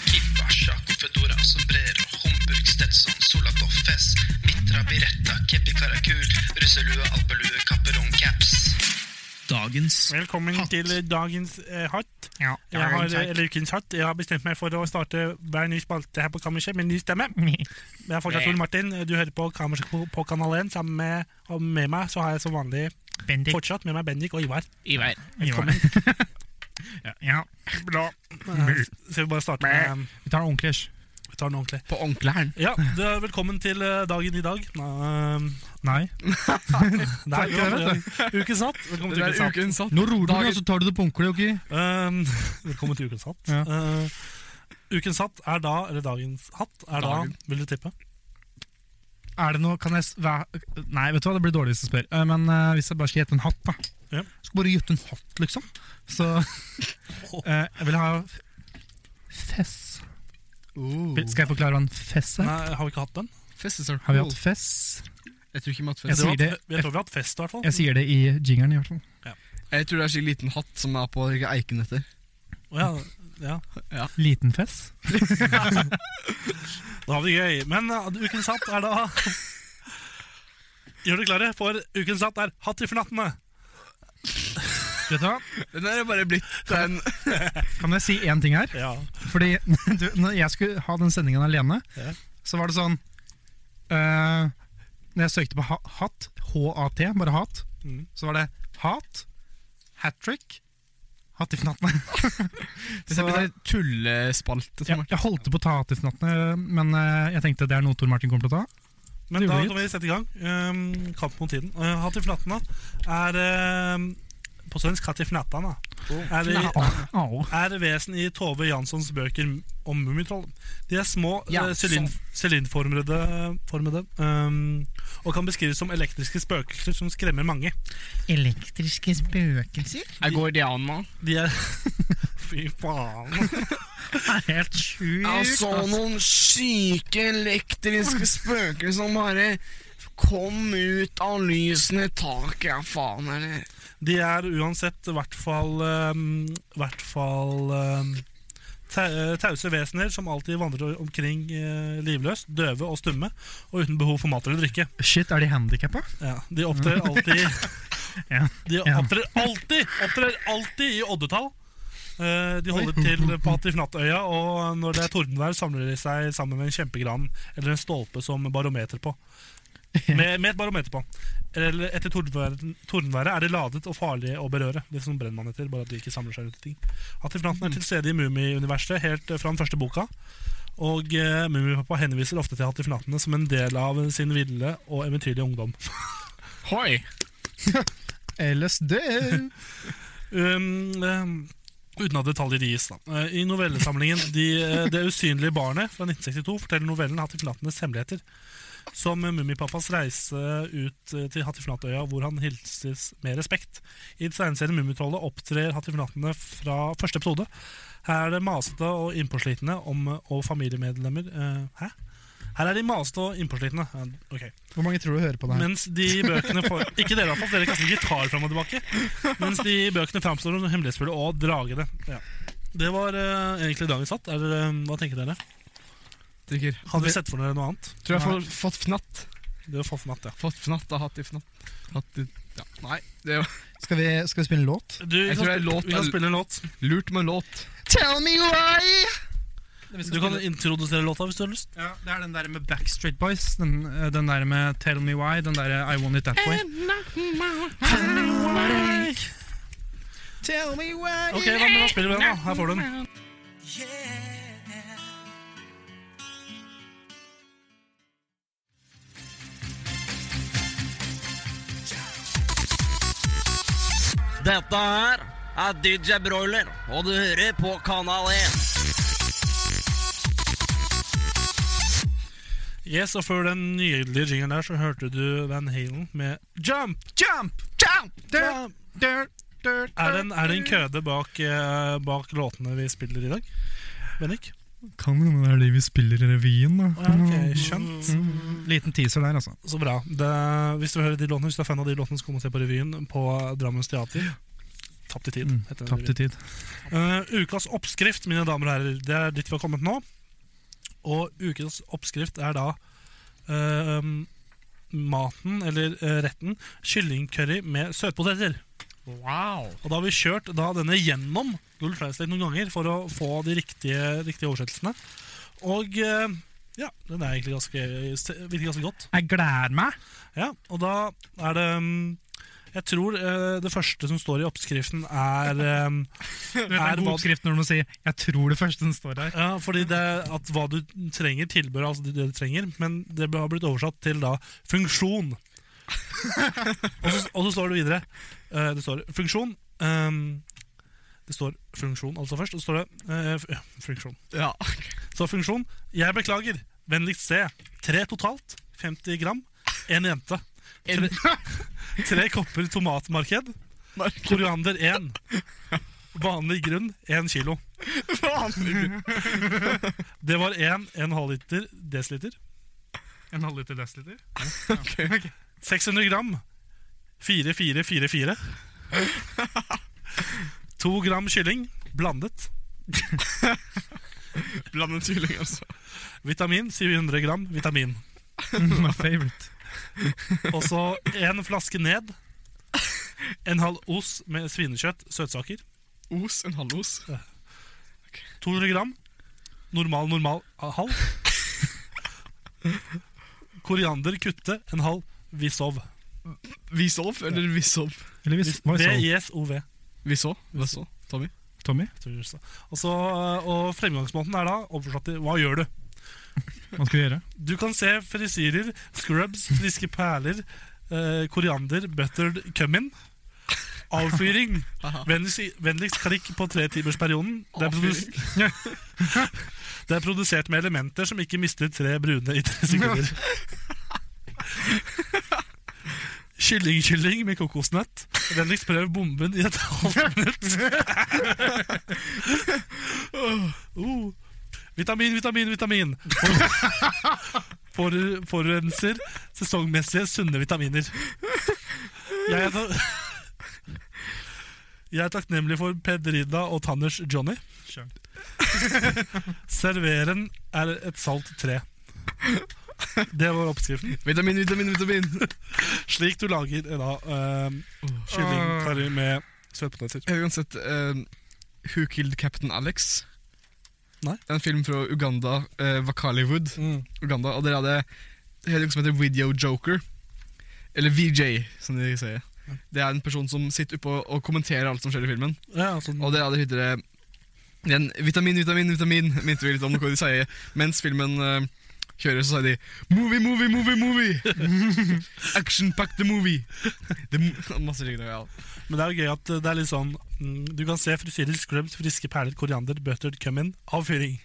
E: Kippa, sjakk, fedora, sombrero, homburg, stetson, solakoff, fess, mitra, biretta, kepi, karakul, russelue, alpelue, kapperong, caps. Dagens
A: Velkommen til dagens eh, hatt.
D: Ja,
A: jeg har, eller ukens hatt. Jeg har bestemt meg for å starte hver ny spalte her på Kammerset med en ny stemme. Jeg er fortsatt Ole Martin. Du hører på Kammerset på, på Kanal 1. Sammen med, og med meg så har jeg som vanlig
D: Bendik.
A: fortsatt med meg Bendik og Ivar.
D: Ivar. ja, ja.
A: Bra. Skal Eh, vi bare starte med
B: Vi tar en ordentlig æsj.
A: Vi tar den ordentlig.
C: På onkleren.
A: Ja, det er velkommen til eh, dagen i dag. Um,
B: Nei.
A: det er
B: jeg vet
A: Ukens hatt. Velkommen
C: Det
A: til
C: er
A: ukens hatt.
C: uken satt.
B: Nå roer du
C: Dagen-
B: deg, så tar du det på ordentlig, ok?
A: Um, velkommen til Ukens hatt.
B: Ja.
A: Uh, ukens hatt er da, eller dagens hatt, er
C: Dagen.
A: da, vil du tippe?
B: Er det noe, kan jeg s- væ- Nei, vet du hva, det blir dårlig hvis jeg spør. Eh, Men eh, hvis jeg bare skal gjette en hatt, da.
A: Ja.
B: Skal bare gjette en hatt, liksom. Så eh, jeg vil ha f- fess.
C: Oh.
B: Skal jeg forklare hva en fess er?
A: Nei, har vi ikke hatt den?
C: Festesøl.
B: Har vi hatt fess?
C: Oh. Jeg tror ikke vi har hatt
B: Jeg
C: fest.
A: Vi har
B: sier det.
A: hatt- Jeg tror vi har hatt fest, i hvert fall.
B: Jeg sier det i jingeren, i hvert fall.
C: Jeg tror det er en slik liten hatt som er på ikke, eiken etter.
A: Å ja, ja.
B: Liten fess?
A: Da har vi det gøy. Men uh, ukens hatt er da Gjør dere klare, for ukens hatt er Hatt i fnattene.
B: Vet du hva?
C: Den er bare blitt den
B: Kan jeg si én ting her?
A: Ja.
B: Fordi du, når jeg skulle ha den sendingen alene,
A: Ja.
B: så var det sånn eh, Når jeg søkte på ha hatt, H-A-T, bare hat,
A: Mm.
B: så var det hat, hat trick. Hattifnattene.
C: Det er en sånn tullespalte.
B: Ja,
C: som er-
B: jeg holdt på å ta hattifnattene, men eh, jeg tenkte det er noe Tor Martin kommer til å ta.
A: Men
B: Det
A: da
B: gjorde vi.
A: kan vi sette i gang. Um, kamp mot tiden. Uh, Hattifnattana er um, På svensk Hattifnattana. Er, i-
B: Au.
A: er vesen i Tove Janssons bøker om Mummitroll. De er små, eh, sylin- sylinderformede formede, um, og kan beskrives som elektriske spøkelser som skremmer mange.
D: Elektriske spøkelser?
C: Jeg går det an, mann.
A: De er Fy faen!
D: Helt sjukt.
C: Jeg så
B: Altså-
C: noen syke elektriske spøker som bare kom ut av lysene i taket, ja faen, eller?
A: De er uansett i hvert fall ehm, hvert fall ehm, ta- eh, tause vesener som alltid vandrer omkring eh, livløst, døve og stumme, og uten behov for mat eller drikke.
B: Shit, er de handikappa?
A: Ja, de opptrer alltid
B: Ja,
A: De opptrer alltid, opptrer alltid i oddetall. Eh, de holder til på Hatifnattøya, og når det er tordenvær, samler de seg sammen med en kjempegran eller en stolpe som barometer på. Med, med et barometer på. Eller etter tordenværet, tordenværet er de ladet og farlige å berøre. Det som brennmann etter, bare at de ikke samler seg rundt ting.
B: Mm.
A: Hatifnatten er til stede i Mummiuniverset helt eh, fra den første boka. Og uh, Mummipappa henviser ofte til Hatifnattene som en del av sin ville og eventyrlige ungdom.
C: Hoi!
B: LSD!
A: Um, um, uten at detaljer gis. da. Eh, I novellesamlingen de, eh, 'Det usynlige barnet' fra 1962 forteller novellen Hattifnattenes hemmeligheter. Som eh, Mummipappas reise ut eh, til Hattifnattøya, hvor han hilses med respekt. I tegneserien Mummitrollet opptrer Hattifnattene fra første episode. Her er det masete og innpåslitne om, eh, og familiemedlemmer eh, Hæ? Her er de masete og innpåslitne. Ja, ok.
B: Hvor mange tror du hører på det her?
A: Mens de bøkene for, Ikke dere, i hvert fall. Dere kaster gitar fram og tilbake. Mens de bøkene framstår som hemmelighetsfulle og dragende. Ja. Det var eh, egentlig dagens hatt. Er det, eh, hva tenker dere?
C: Drikker.
A: Hadde vi sett for dere noe annet?
C: Tror jeg har fått- fått fnatt.
A: Det var for natt, ja.
C: Fått fnatt av hatt i fnatt. Hatt i, ja. Nei, det var
B: Skal vi, skal vi spille en låt?
A: Du, vi,
C: Jeg
A: kan
C: tror det er
A: spille,
C: låt-
A: vi kan spille en låt.
C: lurt med låt.
D: Tell me why!
A: Du kan introdusere låta hvis du har lyst.
B: Ja, Det er den der med Backstreet Boys. Den, eh, den der med Tell Me Why. Den der eh, I Want It That Way. Tell me why
A: Ok, da, men da spiller vi den, da. Her får du den.
F: Dette her er DJ Broiler, og du hører på Kanal 1.
A: Yes, og Før den nydelige jingeren der, så hørte du Van Halen med Jump!
B: Jump! Jump! Dirt, dirt, dirt,
A: Er det en, er det en køde bak, eh, bak låtene vi spiller i dag? Bennik?
B: Kan hende det er de vi spiller i revyen, da.
A: Ja, ok, skjønt.
B: Liten teaser der, altså.
A: Så bra. Det, hvis du hører de låtene, hvis du er fan av de låtene, så kom og se på revyen på Drammens Teater. Tapt i tid.
B: Mm,
A: heter den
B: Tapt i tid.
A: revyen. Eh, ukas oppskrift, mine damer og herrer, det er dit vi har kommet nå. Og ukas oppskrift er da eh, maten, eller eh, retten, kyllingcurry med søtpoteter.
C: Wow.
A: Og da har vi kjørt da denne gjennom Google Translate noen ganger for å få de riktige, riktige oversettelsene. Og eh, ja, den er egentlig ganske, virker ganske godt.
B: Jeg gleder meg.
A: Ja, og da er det mm, Jeg tror eh, det første som står i oppskriften er um,
B: Det er en god oppskrift når du må si 'jeg tror det første den står her'.
A: ja, fordi det er at hva du trenger, tilbør altså det du trenger, men det har blitt oversatt til da funksjon. og, så, og så står det videre eh, Det står funksjon. ehm, det står funksjon altså først, og så står det eh, f- ja, funksjon.
C: Ja.
A: Så funksjon. Jeg beklager. Vennligst se. Tre totalt. 50 gram. En jente. Tre, tre kopper tomatmarked. Koriander 1. Vanlig grunn 1 kilo. Det var 1 1,5 liter desiliter.
B: En halvliter desiliter.
A: 600 gram. 4444. 2 gram kylling. Blandet.
C: Blandet kylling, altså.
A: Vitamin 700 gram vitamin.
B: Mm, My favorite.
A: Og så en flaske ned. En halv os med svinekjøtt, søtsaker.
C: Os, en halv os.
A: 200 gram. Normal, normal ah, halv. Koriander kutte, en halv visov.
C: Vis opp, eller vis opp.
B: Eller hvis
A: V-I-S-O-V.
C: Vi så. Vi så. Tommy.
B: Tommy?
A: tror jeg. Og, så, eh, og fremgangsmåten er da oversatt til hva gjør du?
B: Hva skal vi gjøre?
A: Du kan se frisyrer, scrubs, friske perler, eh, koriander, buttered cumin. Avfyring. Vennligst, vennligst klikk på tretimersperioden. Det, er produs- det er produsert med elementer som ikke mister tre brune i tre sekunder. Kyllingkylling med kokosnøtt. Vennligst prøv bomben i et halvt minutt. Oh. Vitamin, vitamin, vitamin. For- Forurenser sesongmessige sunne vitaminer. Jeg er, ta- jeg er takknemlig for Pedrida og Tanners Johnny. Serveren er et salt tre. Det var oppskriften.
C: Vitamin, vitamin, vitamin.
A: Slik du lager eh, da uh, kyllingkarri med søtpoteter.
C: Jeg har uansett eh, Who Killed Captain Alex?
A: Nei.
C: Det er en film fra Uganda, uh, Wakaliwood, Uganda, og der hadde det er noe som heter Video Joker. Eller VJ, som de sier. Det er en person som sitter oppe og- og kommenterer alt som skjer i filmen.
A: Ja, sånn.
C: Og der hadde hytter det det er en vitamin, vitamin, vitamin, minte vi litt om hva de sier. Mens filmen eh, kjører, så sier de Movie, movie, movie, movie! Action pack the movie! Det, mo- masse slike ting, ja.
A: Men det er jo gøy at eh, det er litt sånn mm, Du kan se frisyrer, scrubs, friske perler, koriander, buttered cumin, avfyring.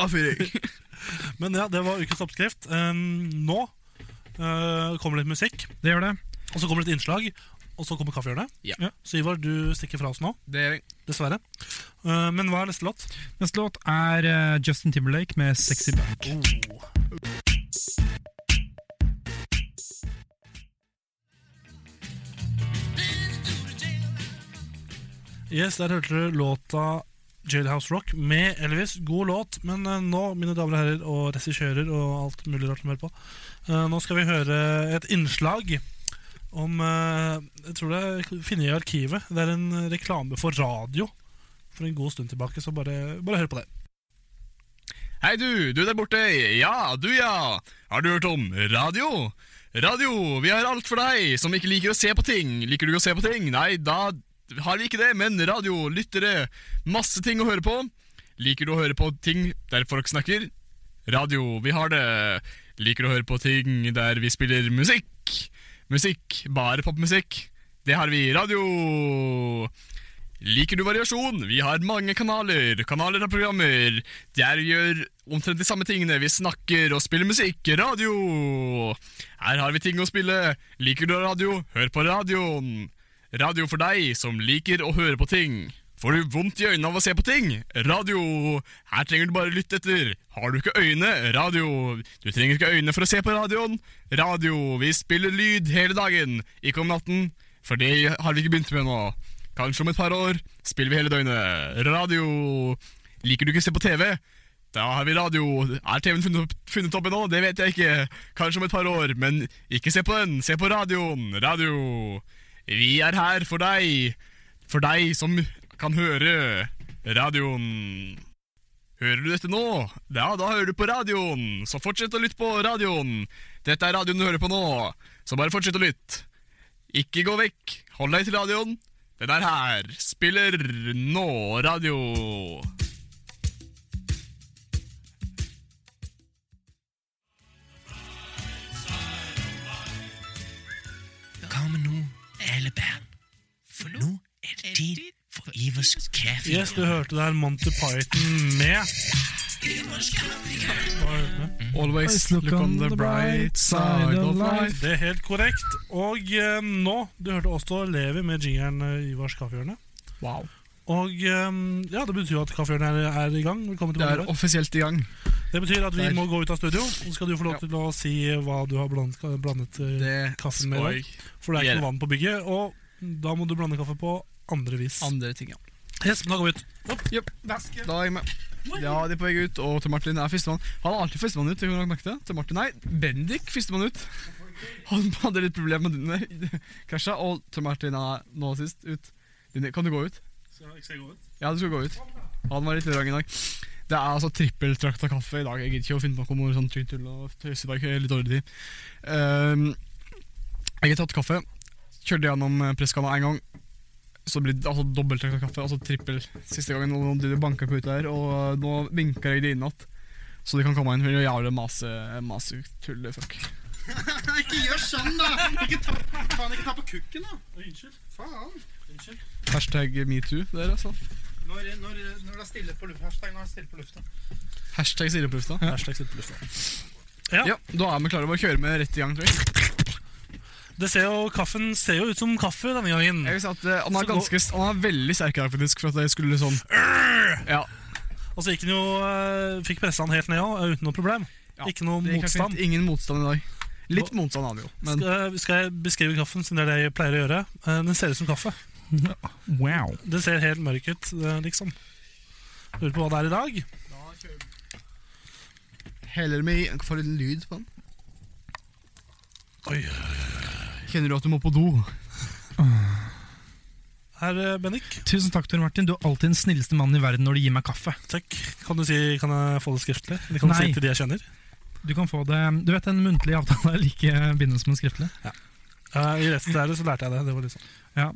C: Avfyring.
A: Men ja, det var ukens oppskrift. Um, nå eh, kommer det litt musikk,
B: Det gjør det.
A: og så kommer det et innslag, og så kommer kaffehjørnet.
C: Ja.
A: Så Ivar, du stikker fra oss nå,
C: Det er
A: dessverre. Eh, men hva er neste låt?
B: Neste låt er eh, Justin Timberlake med 'Sexy Back'.
A: Yes, der hørte du låta Jailhouse Rock med Elvis. God låt, men eh, nå, mine damer og herrer, og regissører og alt mulig rart som hører på, eh, nå skal vi høre et innslag om eh, Jeg tror det er funnet i arkivet. Det er en reklame for radio for en god stund tilbake, så bare, bare hør på det.
C: Hei du, du der borte. Ja, du ja. Har du hørt om radio? Radio, vi har alt for deg som ikke liker å se på ting. Liker du å se på ting? Nei, da har vi ikke det, men radio, lyttere, masse ting å høre på. Liker du å høre på ting der folk snakker? Radio, vi har det. Liker du å høre på ting der vi spiller musikk? Musikk, bare popmusikk. Det har vi. Radio. Liker du variasjon? Vi har mange kanaler. Kanaler og programmer. Der vi gjør omtrent de samme tingene. Vi snakker og spiller musikk. Radio! Her har vi ting å spille. Liker du radio? Hør på radioen. Radio for deg som liker å høre på ting. Får du vondt i øynene av å se på ting? Radio! Her trenger du bare lytte etter. Har du ikke øyne? Radio! Du trenger ikke øyne for å se på radioen. Radio! Vi spiller lyd hele dagen. Ikke om natten, for det har vi ikke begynt med nå. Kanskje om et par år spiller vi hele døgnet. Radio. Liker du ikke å se på TV? Da har vi radio. Er TV-en funnet, opp- funnet opp ennå? Det vet jeg ikke. Kanskje om et par år, men ikke se på den. Se på radioen. Radio. Vi er her for deg. For deg som kan høre radioen. Hører du dette nå? Ja, da hører du på radioen. Så fortsett å lytte på radioen. Dette er radioen du hører på nå, så bare fortsett å lytte. Ikke gå vekk. Hold deg til radioen. Den er her. Spiller nå radio.
E: Hva med nå, hele band? For nå er det tid for Ivers kaffe.
A: Yes, du hørte der Monty Python med
C: Mhm. Always look on the bright side of life.
A: Det er helt korrekt. Og eh, nå Du hørte også Levi med jingeren eh, Ivars Kaffehjørne.
C: Wow.
A: Og eh, ja, det betyr jo at kaffehjørnet er, er i gang. Velkommen
C: Det er
A: tilbake.
C: offisielt i gang.
A: Det betyr at vi
C: Der.
A: må gå ut av studio, og så skal du få lov
C: Ja.
A: til å si hva du har blandet, blandet eh, kaffen med i dag. For det er
C: gjøre.
A: ikke noe vann på bygget, og da må du blande kaffe på andre vis.
C: Andre ting, ja.
A: Yes, men da går vi ut.
C: Jep, Da er jeg med. Ja, de er på vei ut, og Tor Martin er førstemann. Han er alltid førstemann ut. Har merket det? Tor Martin, nei, Bendik førstemann ut. Han hadde litt problemer med denne krasja, og Tor Martin er nå sist ut. Dine- Kan du gå ut? Ja, du skal gå ut. Han var litt vrang i dag. Det er altså trippeltrakt av kaffe i dag. Jeg gidder ikke å finne på noe sånn tull og tøys i dag. Jeg har Litt dårlig tid. Ehm, jeg har tatt kaffe. Kjørte gjennom eh, presskana en gang. Så det blir altså, dobbelt av kaffe, altså trippel. Siste gangen nå, du banka på ute her, og eh, nå vinka jeg det inn igjen. Så du kan komme inn for å jævla mase, mase tulle, fuck.
D: Ikke gjør sånn, da! Ikke ta, faen, ikke ta på kukken, da!
A: Unnskyld.
D: Faen.
C: Hashtag metoo der, altså.
D: Når, når, når det er stille på lufta. Hashtag når det er stille på lufta.
C: Hashtag siruplufta. Ja.
A: Hashtag sitter på lufta.
C: ja, da er vi klare. Bare kjøre med rett i gang, tror jeg.
A: Det ser jo, kaffen ser jo ut som kaffe denne gangen.
C: Jeg vil si at eh, Han
A: Så
C: er ganske, han er veldig sterk i dag, faktisk, for at jeg skulle sånn Ja,
A: Og så gikk han jo, eh, fikk pressa han helt ned òg, uten noe problem.
C: Ja,
A: Ikke noe
C: det gikk helt fint.
A: motstand.
C: Ingen motstand i dag. Litt motstand har vi jo, men
A: Skal, eh, skal jeg beskrive kaffen, siden det er det jeg pleier å gjøre? Eh, Den ser ut som kaffe.
B: Wow.
A: Det ser helt mørk ut, eh, liksom. Lurer på hva det er i dag.
C: heller med Får en lyd på den.
A: Oi.
C: Kjenner du at du må på do?
A: Her, eh, Bennik.
B: Tusen takk, Tor Martin. Du er alltid den snilleste mannen i verden når du gir meg kaffe.
A: Takk. Kan du si, kan jeg få det skriftlig? Eller kan du si
B: Nei.
A: til de jeg kjenner?
B: Du kan få det Du vet, en muntlig avtale er like bindende som en skriftlig.
A: Eh, I resten der så lærte jeg det. Det var litt sånn.
B: Ja,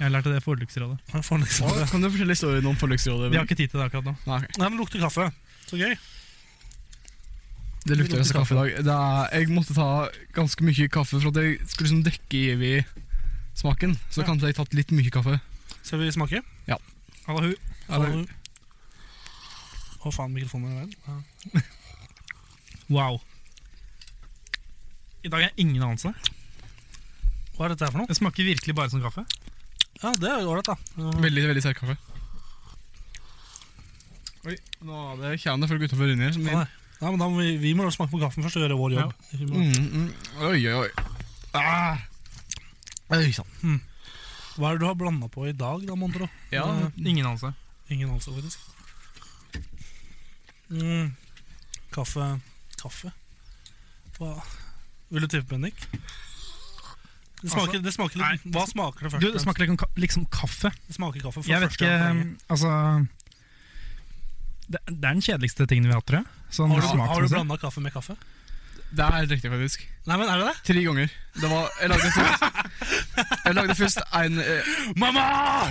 B: jeg lærte det i Forbruksrådet.
A: Jeg får liksom det.
C: Kan du fortelle historien om forliksrådet?
B: Vi har ikke tid til det akkurat nå.
C: Nei,
A: Nei, men det lukter kaffe. Så gøy.
C: Det lukter også kaffe i dag. Det er, jeg måtte ta ganske mye kaffe for at jeg skulle liksom dekke i smaken. Så
A: Ja.
C: kan jeg tatt litt mye kaffe.
A: Skal vi smake?
B: Allahu.
C: Eller,
A: Å, faen, mikrofonen er i veien. Ja.
B: Wow. I dag er ingen anelse.
A: Hva er dette her for noe?
B: Det smaker virkelig bare som kaffe.
A: Ja, Det er jo ålreit, da. Ja.
C: veldig, veldig sterk kaffe. Oi, nå er det kjernen for gutta for inni her. Som
A: Nei, Nei, men da må vi, vi må da smake på kaffen først og gjøre vår jobb.
C: mm, mm. Oi, oi, oi. Ah. Oi sånn. sann.
A: Hva er det du har blanda på i dag, da, mon tro?
C: Ja,
A: Eh,
B: Ingen anelse.
A: Ingen anelse, faktisk. Mm. Kaffe Kaffe? Hva Vil du tippe, Bendik? Det smaker, det smaker litt Hva smaker det først?
B: Du,
A: og
B: det
A: fremst?
B: smaker liksom, ka- liksom kaffe.
A: det smaker kaffe for
B: Jeg vet
A: første
B: ikke
A: gang på lenge.
B: Altså det, det er den kjedeligste tingen vi har hatt, tror jeg. Sånn
A: Har du, har du
B: smaksmessig.
A: blanda kaffe med kaffe?
C: Det er helt riktig, faktisk.
A: Nei, men er det det?
C: Tre ganger. Det var, jeg lagde først Jeg lagde først en eh,
A: Mamma!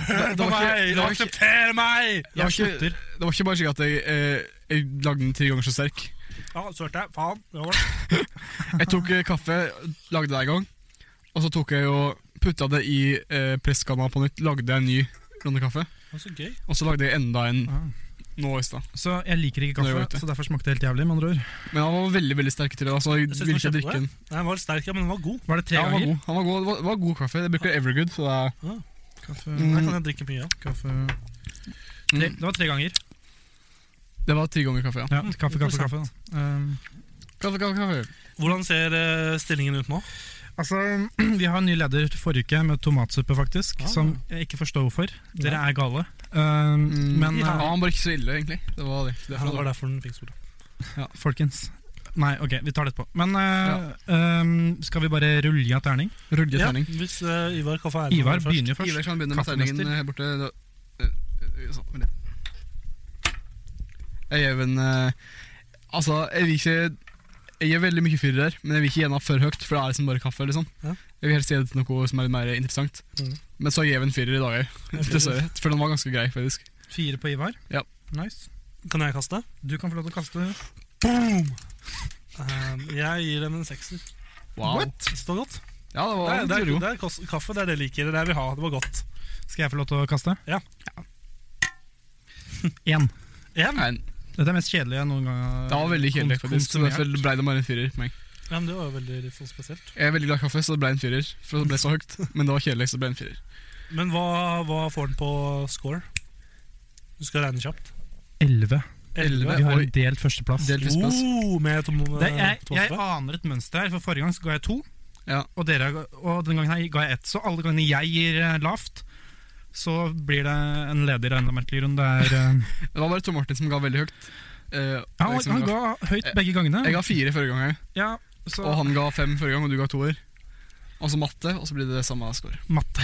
A: Hør
C: det
A: på
C: var
A: meg!
C: ikke- det var ikke-
A: Aksepter meg!
C: det var, ikke, det var ikke bare slik at jeg, eh, jeg lagde den tre ganger så sterk.
A: Ja, sølte jeg. Faen. det var det.
C: Jeg tok eh, kaffe, lagde det en gang, og så tok jeg og putta det i eh, presskanna på nytt, lagde en ny runde kaffe,
A: Det var så gøy.
C: og så lagde jeg enda en
B: Ah.
C: nå i stad.
B: Så jeg liker ikke
C: Nå er jeg
B: kaffe,
C: ute.
B: så derfor smakte det helt jævlig. med andre ord
C: Men han var veldig veldig sterk til det, da, så jeg
A: synes
C: ville ikke
A: den var
C: drikke den.
A: Nei, Den var sterk, ja, men den var god.
B: Var det tre
C: Ja, han var
B: ganger?
C: god, han var god, det var, det var god kaffe. Jeg bruker Evergood, så det er
B: Kaffe,
A: Den
C: Mm.
A: kan jeg drikke mye av.
B: kaffe
C: Mm.
B: tre, Det var tre ganger.
C: Det var tre ganger kaffe, ja.
B: Ja, kaffe, kaffe, kaffe. da. Um,
C: Kaffe, kaffe, kaffe.
A: Hvordan ser eh, stillingen ut nå?
B: Altså, Vi har en ny leder forrige uke med tomatsuppe, faktisk.
A: Ah.
B: Som jeg ikke forstår hvorfor. Dere er gale. Um,
C: Mm,
B: Men
C: ja,
B: uh,
C: han var ikke så ille, egentlig. Det var det. det,
A: Ja, det
C: var
A: var
C: det.
A: derfor den fikk sola.
B: folkens Nei, ok, vi tar det etterpå. Men uh, um, skal vi bare rulle av terning?
C: Rudje
A: Ja,
C: terning.
A: hvis eh, Ivar kan få æren
B: Ivar
A: av det først.
B: begynner jo
C: Ivar
B: først.
C: kan begynne med
B: Kaffemester.
C: terningen her borte. Da- eh, eh, sånn, vent litt. Jeg gjør en eh, Altså, jeg vil ikke Jeg gjør veldig mye fyrer her, men jeg vil ikke gjerne ha for høyt, for da er det som bare kaffe. liksom
A: Ja.
C: Jeg vil helst gjøre det til noe som er litt mer interessant.
A: Mhm.
C: Men så gir jeg en fyrer i dag òg, dessverre. For den var ganske grei, faktisk.
B: Fire på Ivar.
C: Ja.
B: Nice.
A: Kan jeg kaste?
B: Du kan få lov til å kaste.
A: Um, jeg gir dem en sekser.
C: Wow.
A: Det står godt.
C: Ja, det
A: Det
C: var
A: er, det, er,
C: moro.
A: det er kos- kaffe, det er det jeg liker. Det er det jeg vil ha. Det var godt.
B: Skal jeg få lov til å kaste?
A: Ja.
B: Én.
A: En?
C: Nei,
B: Dette er mest kjedelige jeg noen gang har
C: det var veldig kjedelig,
B: kon-
C: faktisk. Så
B: konsumert.
C: derfor ble det bare en fyrer på meg.
A: Ja, men det var jo veldig litt sånn spesielt.
C: Jeg er veldig glad i kaffe, så det ble en fyrer. For det ble så høyt. Men det var kjedelig, så det ble en fyrer.
A: Men hva, hva får den på score? Du skal regne kjapt.
B: Elleve.
C: Elleve.
B: Vi har
C: Oi.
B: en delt førsteplass.
C: Delt førsteplass.
A: Oh, med tom,
B: Det, jeg, jeg
A: tomatsuppe.
B: aner et mønster her, for forrige gang så ga jeg to.
C: Ja.
B: Og, dere, og denne gangen her ga jeg ett. Så alle gangene jeg gir eh, lavt, så blir det en ledig regnemerkelig runde. Det er, eh,
C: Det var bare Tom Martin som ga veldig høyt. Eh,
B: ja, han,
C: Alexander
B: han ga høyt begge
C: Jeg
B: gangene.
C: ga fire forrige gang, jeg.
B: Ja, så
C: og han ga fem forrige gang, og du ga toer. Og så matte, og så blir det det samme score.
B: matte.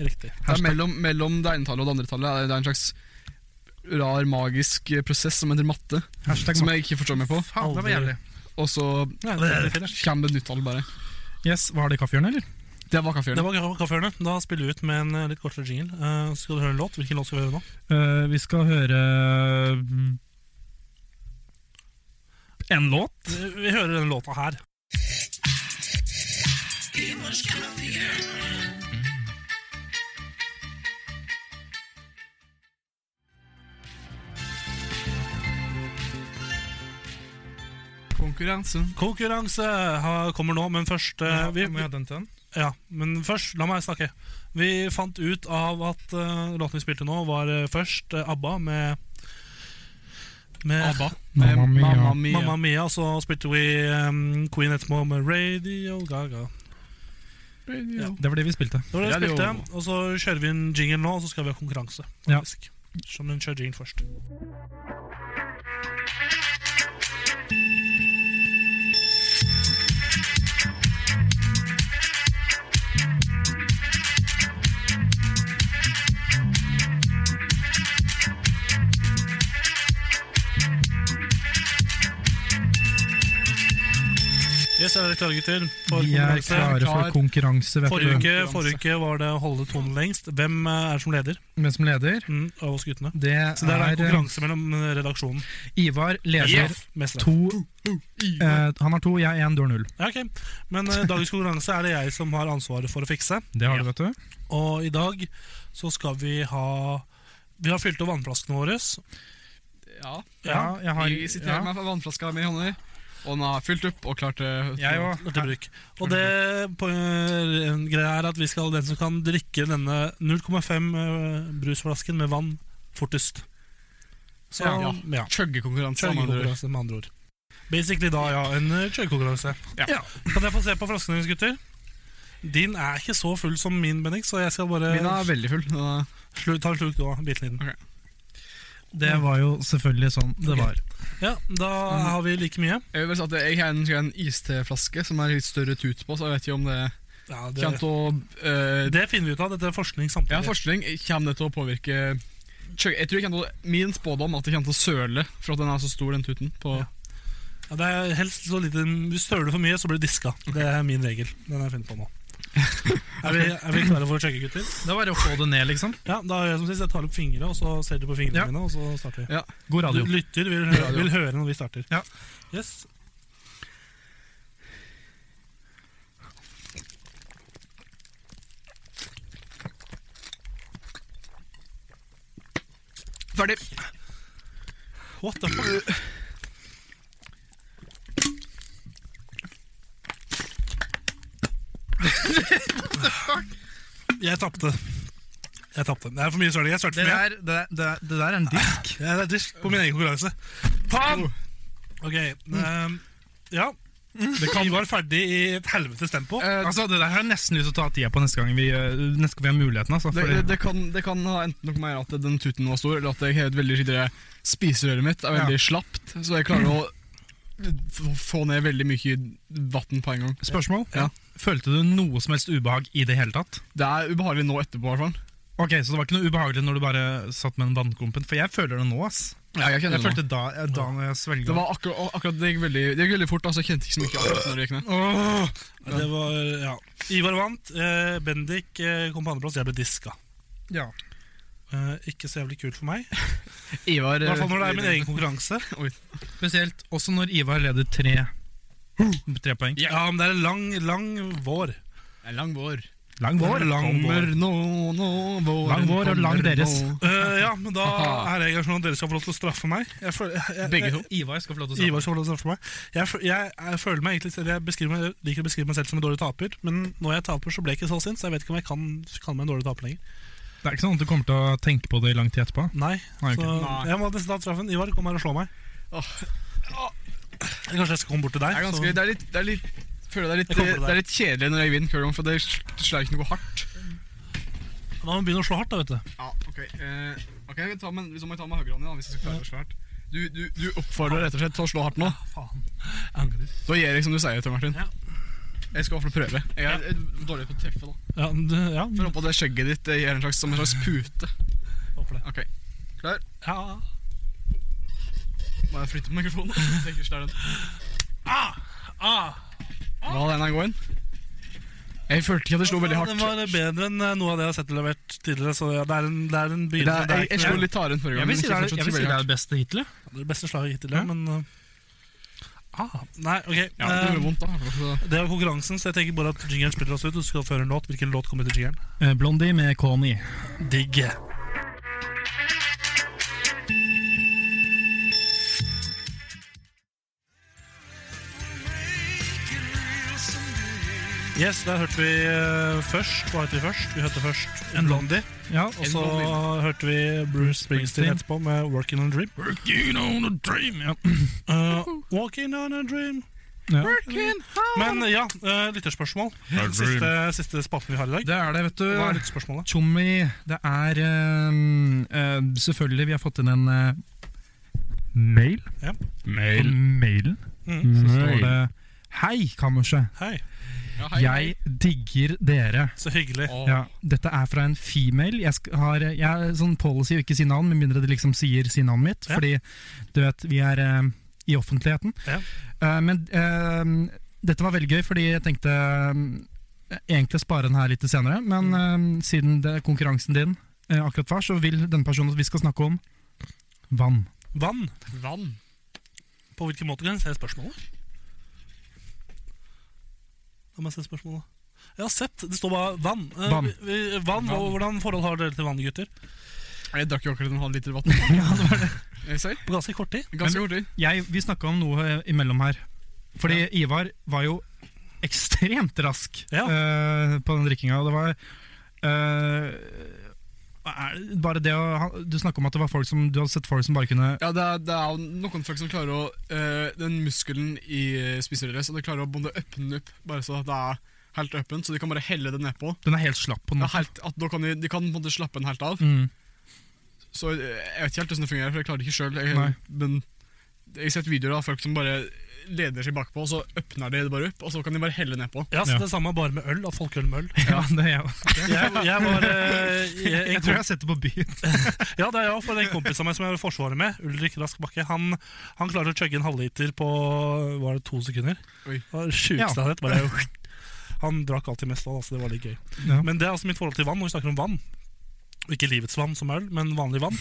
A: Riktig.
C: Det er mellom, mellom det ene tallet og det andre tallet er det er en slags rar, magisk eh, prosess som heter matte,
B: Hashtag
C: som
B: matte.
C: jeg ikke forstår meg på.
B: Faen, det var jævlig.
C: Og så
A: Ja, det er fint, det.
C: kommer det et nytt tall, bare.
B: Yes, Var det kaffehjørnet, eller?
C: Det var kaffehjørnet.
A: Det var Kaffehjørnet. Da spiller vi ut med en eh, litt kortere jingle. Eh, så skal du høre en låt. Hvilken låt skal vi høre nå?
B: Eh, vi skal høre mm, en låt.
A: Eh, Vi hører denne låta her.
C: Konkurransen.
A: Konkurranse har- kommer nå, men først eh, vi,
B: Må jeg ha den til den?
A: ja, Men først, la meg snakke. Vi fant ut av at eh, låten vi spilte nå, var eh, først eh, ABBA med, med
C: ABBA.
B: Mamma
C: Eh,
B: Mia.
C: Mamma Mia.
A: Mamma Mia, og så spilte vi eh, Queen etterpå med Radio Gaga.
C: Radio.
B: Det var det vi spilte.
A: Det var det vi
C: Radio.
A: spilte, og så kjører vi en jingle nå, og så skal vi ha konkurranse.
B: Ja.
A: faktisk. Som den kjører jingle først. Yes, er dere klare, gutter? For
B: Vi er
A: konkurranse?
B: klare
C: Klar.
B: for konkurranse, vet
A: Forrige
B: du.
A: uke, forrige uke var det å holde tonen lengst. Hvem eh, er det som leder
B: Men som leder,
A: mm, av oss guttene?
B: det
A: Så det er en
B: er, eh,
A: konkurranse mellom eh, redaksjonen.
B: Ivar leder
A: Jeff Mestre.
B: to eh, Han har to, jeg én, du har null.
A: Ja, ok. Men eh, dagens konkurranse er det jeg som har ansvaret for å fikse.
B: Det har du, vet du.
A: Og i dag så skal vi ha Vi har fylt opp vannflaskene våre.
C: Ja.
B: Ja, jeg har
C: Vi sitter her med vannflaska mi i hånda, og den har fylt opp og klart eh, det.
B: Jeg òg.
A: til bruk. Og det på, eh, greia er at vi skal den som kan drikke denne 0,5 eh, brusflasken med vann fortest. Så
C: Ja.
A: ja.
C: Chuggekonkurranse. med andre ord.
A: Kjørekonkurranse, med andre ord. Basically da, ja. En eh, kjørekonkurranse.
C: Ja.
A: Kan jeg få se på flaskene deres, gutter? Din er ikke så full som min, Bennik, så jeg skal bare
C: Min er veldig full. Den er-
A: slu, ta en slurk nå. Bitte liten.
B: Det var jo selvfølgelig sånn det var.
A: Ja, da har vi like mye.
C: Jeg vil bare si at jeg har en, skal ha en isteflaske som er litt større tut på, så jeg vet ikke om det
A: Ja,
C: kommer
A: det,
C: til å eh,
A: det finner vi ut av. Dette er forskning
C: Jeg
A: samtidig.
C: har forskning. Kommer det til å påvirke chugge- jeg tror jeg kommer til å, Min spådom er at det kommer til å søle for at den er så stor, den tuten. På,
A: Ja. ja, det er helst så lite Hvis du søler for mye, så blir du diska. Det er min regel. Den har jeg funnet på nå. er, vi, er vi klare for å sjekke, gutter?
B: Det er bare å få det ned, liksom.
A: Ja, da gjør jeg som sist. Jeg tar opp fingre, og så ser du på fingrene
B: Ja.
A: mine, og så starter vi.
B: God
A: Du
B: radio.
A: lytter, vil, hø-
C: Radio.
A: vil høre når vi starter.
B: Ja.
A: Yes.
C: Ferdig.
A: What the fuck? Jeg tapte. Jeg tapte. Det er for mye søling. Jeg sølte
B: Det
A: for mye.
B: der, det, der- det der er en disk.
A: Jeg er disk på min egen konkurranse. Faen! Ok. ehm, ja. Det kan være ferdig i et helvetes tempo.
C: Eh,
B: Altså, det der har jeg nesten lyst til å ta tida på neste gang vi, eh, neste gang vi har muligheten. Altså,
C: det,
B: fordi-
C: det, det, kan, det kan ha enten noe med at den tuten var stor, eller at jeg har et veldig skittere spiserøret mitt er veldig slapt, så jeg klarer å f- få ned veldig mye vann på en gang.
B: spørsmål?
C: Ja.
B: Følte du noe som helst ubehag i det hele tatt?
C: Det er ubehagelig nå etterpå, i hvert fall.
B: Ok, Så det var ikke noe ubehagelig når du bare satt med den vannklumpen? For jeg føler det nå. ass
C: Ja, jeg
B: Jeg
C: kjenner det nå.
B: følte da, eh, da når jeg svelga.
C: Det var akkurat, akkurat det gikk veldig, det gikk veldig fort, altså jeg kjente ikke så mye akkurat når det gikk ned.
B: Åh!
A: Det var, ja. Ivar vant. eh, Bendik eh, kom på andreplass. Jeg ble diska.
B: Ja.
A: Eh, ikke så jævlig kult for meg.
C: Ivar
A: I hvert fall når det er min egen konkurranse.
B: eh, Spesielt også når Ivar leder tre. Tre poeng.
A: Ja, men det er en lang, lang vår.
C: Lang vår.
B: Lang vår.
A: Lang
C: Kommer nå, nå, våren
B: Lang vår og lang
C: kommer
B: deres.
C: nå.
A: Eh, ja, men da
C: Aha.
A: er jeg engasjert sånn at dere skal få lov til å straffe meg. Jeg føler, jeg, jeg,
C: Begge to.
B: Eh, Ivar skal få lov til å
A: Ivar skal få lov til å straffe meg. Jeg, føl- jeg, jeg føler meg egentlig selv, jeg, beskriver meg, jeg liker å beskrive meg selv som en dårlig taper, men når jeg taper, så ble jeg ikke så sint, så jeg vet ikke om jeg kan kalle meg en dårlig taper lenger.
B: Det er ikke sånn at du kommer til å tenke på det i lang tid etterpå?
A: Nei,
B: Nei, ok.
A: så
C: Nei.
A: jeg må nesten ta straffen. Ivar, kom her og slå meg. Eller Kanskje jeg skal komme bort til deg.
C: Det er ganske,
A: så-
C: det er litt, det er litt, føler det er litt,
A: Jeg kommer på
C: det er litt kjedelig når jeg vinner, hver gang, for det slår ikke noe hardt.
A: Da må vi begynne å slå hardt, da, vet du.
C: Ja, ok. Eh, ok, vi tar med, Så må jeg ta med høyrehånda da, hvis jeg skal klare å slå hardt. Du, du, du oppfordrer rett og slett til å slå hardt nå.
A: Jeg angrer.
C: Da gir jeg som du sier, Tor Martin.
A: Ja.
C: Jeg skal i hvert fall prøve. Jeg er eh, dårlig på å treffe, da.
A: Ja, du, ja.
C: For håper det skjegget ditt eh, gir en slags, som en slags pute.
A: håper det.
C: Ok, klar?
A: Ja.
C: Må jeg flytte på mikrofonen? Jeg tenker slår den.
A: Ah!
C: Hva den er gåen? Jeg følte ikke at det slo veldig
A: Den
C: hardt.
A: var bedre enn eh, noe av det jeg har sett og levert tidligere. Så ja, det er en, det er en
C: Det
A: begynnelse.
C: er, jeg, jeg slo
A: ikke
C: litt hardere enn forrige gang.
B: Jeg vil
C: men
B: si det
C: ikke
B: er,
C: fortsatt
B: jeg
C: så
B: vil si det,
C: veldig
B: er
C: hardt.
B: det beste hittil. jeg.
A: det beste slaget hittil, ja, men eh, ah, Nei, ok.
C: Ja, det
A: eh,
C: gjorde vondt, da. Så-
A: det var konkurransen, så jeg tenker bare at jingeren spiller oss ut. Du skal føre en låt. Hvilken låt kommer til jingeren?
B: Eh, Blondie med Koni.
A: Digg. Yes, der hørte vi eh, først Hva hørte vi først? Vi hørte først en Blondie.
B: Ja,
A: Og så hørte vi Bruce Springsteen
B: Springsteen.
A: etterpå med 'Working on a Dream'.
B: Working on a dream, ja.
A: Eh, walking on a dream
B: Ja.
A: Men ja, eh, lytterspørsmål. Siste, siste spalten vi har i dag.
B: Det er det, vet du.
A: Hva er lytterspørsmålet?
B: Tjommi, det er ehm, eh, Selvfølgelig, vi har fått inn en eh, mail.
A: Ja.
B: Mail. Mailen
A: Mm.
B: så står det Hei, kammerset.
A: Hei,
C: Ja, hei, hei.
B: Jeg digger dere.
A: så hyggelig.
C: Åh.
B: Ja, dette er fra en female. Jeg sk- har, eh, jeg har sånn policy å ikke si navn, med mindre det liksom sier si navnet mitt.
A: Ja.
B: Fordi du vet, vi er eh, i offentligheten.
A: Ja.
B: Eh, men eh, dette var veldig gøy, fordi jeg tenkte eh, egentlig spare den her litt til senere. Men
A: Mm.
B: eh, siden det er konkurransen din eh, akkurat var, så vil denne personen at vi skal snakke om vann.
A: Vann.
C: Vann.
A: På hvilken måte kan jeg se spørsmålet? La meg se spørsmålet. Jeg har sett, det står bare vann. Eh,
B: Vann.
A: vi- vi- vann.
C: Vann.
A: og Hvordan forhold har dere til vann, gutter?
C: Jeg drakk jo akkurat en halv liter vann. ja, det var det. Ser,
A: På ganske kort tid.
C: ganske kort tid.
B: Jeg, vi snakka om noe eh, imellom her. Fordi Ivar var jo ekstremt rask
A: Ja.
B: eh, på den drikkinga. Og det var eh, er det bare det å, han- Du snakka om at det var folk som, du hadde sett folk som bare kunne
C: Ja, det er, det er jo noen folk som klarer å eh, Den muskelen i eh, spiserøret, så de klarer å bonde øppne opp, bare så at det er helt åpent, så de kan bare helle det nedpå.
B: Den er helt slapp på
C: Ja,
B: noe.
C: helt, at da kan de, de kan på en måte slappe den helt av.
B: Mm.
C: Så eh, jeg vet ikke helt hvordan det fungerer, for jeg klarer det
B: Nei.
C: ikke sjøl. Men jeg har sett videoer av folk som bare leder seg bakpå, og så åpner de det bare opp, og så kan de bare helle nedpå.
A: Jeg har sett
B: Ja.
A: det samme bare med øl. At folk øl med øl.
B: Ja, det er jeg også.
A: Jeg, jeg var eh, jeg,
B: Jeg tror jeg har sett det på byen.
A: Ja, det er jeg også, for en kompis av meg som jeg var i Forsvaret med, Ulrik Rask Bakke, han, han klarte å chugge en halvliter på var det to sekunder.
C: Oi.
A: Det var det sjukeste jeg har sett. bare- Han drakk alltid mest av, altså det var litt gøy.
B: Ja.
A: Men det er altså mitt forhold til vann, når vi snakker om vann. og Ikke livets vann som øl, men vanlig vann.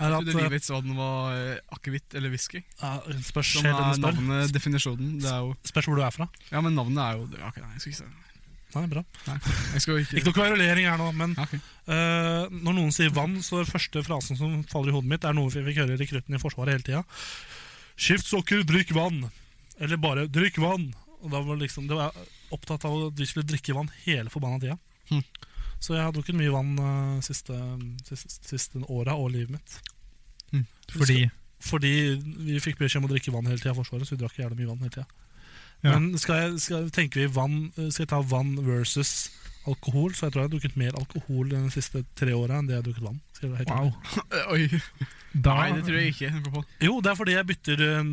A: Er at,
C: At, det livets vann var eh, akevitt eller whisky.
A: ja, spørs,
C: Som
A: helt
C: er
A: enig spør.
C: navnet, definisjonen. Det er jo,
A: spørs hvor du er fra.
C: ja, men navnet er jo det- ok, Nei, jeg skal ikke se.
A: Nei, bra.
C: Jeg skal ikke,
A: Ikke noe kverulering her nå, men
C: Ja, ok.
A: Eh, når noen sier vann, så er første frasen som faller i hodet mitt, er noe vi fikk høre rekrutten i Forsvaret hele tida. Skift sokker, drikk vann! Eller bare 'drikk vann'. Og da var det liksom, det var jeg opptatt av at vi skulle drikke vann hele forbanna tida.
C: Hm.
A: Så jeg har drukket mye vann eh, siste, siste, siste åra og livet mitt.
B: Fordi
A: Fordi vi fikk beskjed om å drikke vann hele tida i Forsvaret, så vi drakk jævlig mye vann hele tida.
B: Ja.
A: Men skal jeg, skal, tenker vi vann, eh, skal jeg ta vann versus alkohol, så jeg tror jeg har drukket mer alkohol de siste tre åra enn det jeg har drukket vann. Skal jeg være helt ærlig.
B: Wow.
C: Oi,
B: Da,
C: nei, det tror jeg ikke. Jeg går på.
A: Jo, det er fordi jeg bytter eh,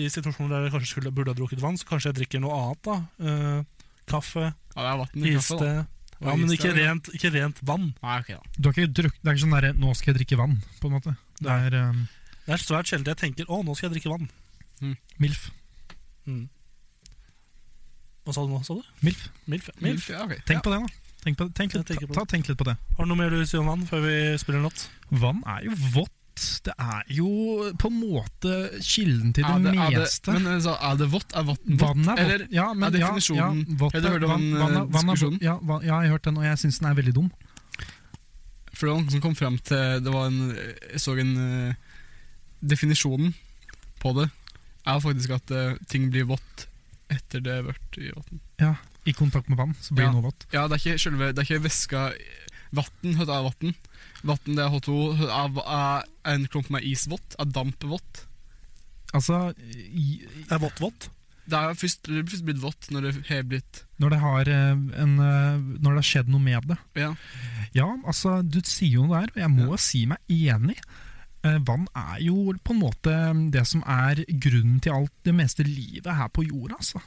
A: i situasjoner der jeg kanskje skulle, burde ha drukket vann, så kanskje jeg drikker noe annet. da. Eh, kaffe,
C: Ja, det er vann i kaffe,
A: iste
C: da.
A: Ja, men
C: Iste,
A: ikke
C: ja.
A: rent, ikke rent vann.
C: Nei, ok da.
B: du har ikke drukket, det er ikke sånn derre 'nå skal jeg drikke vann', på en måte. Det er eh,
A: Det er svært sjelden jeg tenker 'å, nå skal jeg drikke vann'.
B: MILF.
A: Mm. Hva sa du nå, sa du?
B: Milf.
A: Milf? ja. Milf.
C: Milf, ja, ok.
B: Tenk på det, da. Tenk, på, tenk,
A: Jeg
B: litt,
A: tenker på
B: ta, ta, tenk litt på det.
A: Har du noe mer du vil si om vann før vi spiller en låt?
B: Vann er jo vått. Det er jo på en måte kilden til det,
C: Er det, er det,
B: meste.
C: men eh, så er det vått? Er vann vått?
B: Vann er vått.
C: Eller
B: ja, men,
C: er definisjonen-
B: ja, ja, vått
C: Har du
B: er-
C: hørt om
B: vann-
C: den,
B: vann er-
C: eh,
B: vann er-
C: diskusjonen?
B: Ja, vann- ja, jeg har hørt den, og jeg syns den er veldig dum.
C: For det var noen som kom frem til det var en, Jeg så en eh, Definisjonen på det er faktisk at eh, ting blir vått etter det har vært i vann.
B: I kontakt med vann så blir
C: Ja.
B: noe vått.
C: Ja, det er ikke selve Det er ikke væska Vann hørt er vann. Vann det er H2. Er, er en klump med is vått? Er damp vått?
B: Altså, i,
A: Det er vått-vått.
C: Det er først, det blir først blitt vått når det har blitt
B: når, det har, eh, en, eh, når det har skjedd noe med det.
C: Ja.
B: Ja, altså, du sier jo noe der, og jeg må si meg enig. Eh, Vann er mm, jo på en måte det som er grunnen til alt det meste livet her på jorda. Altså.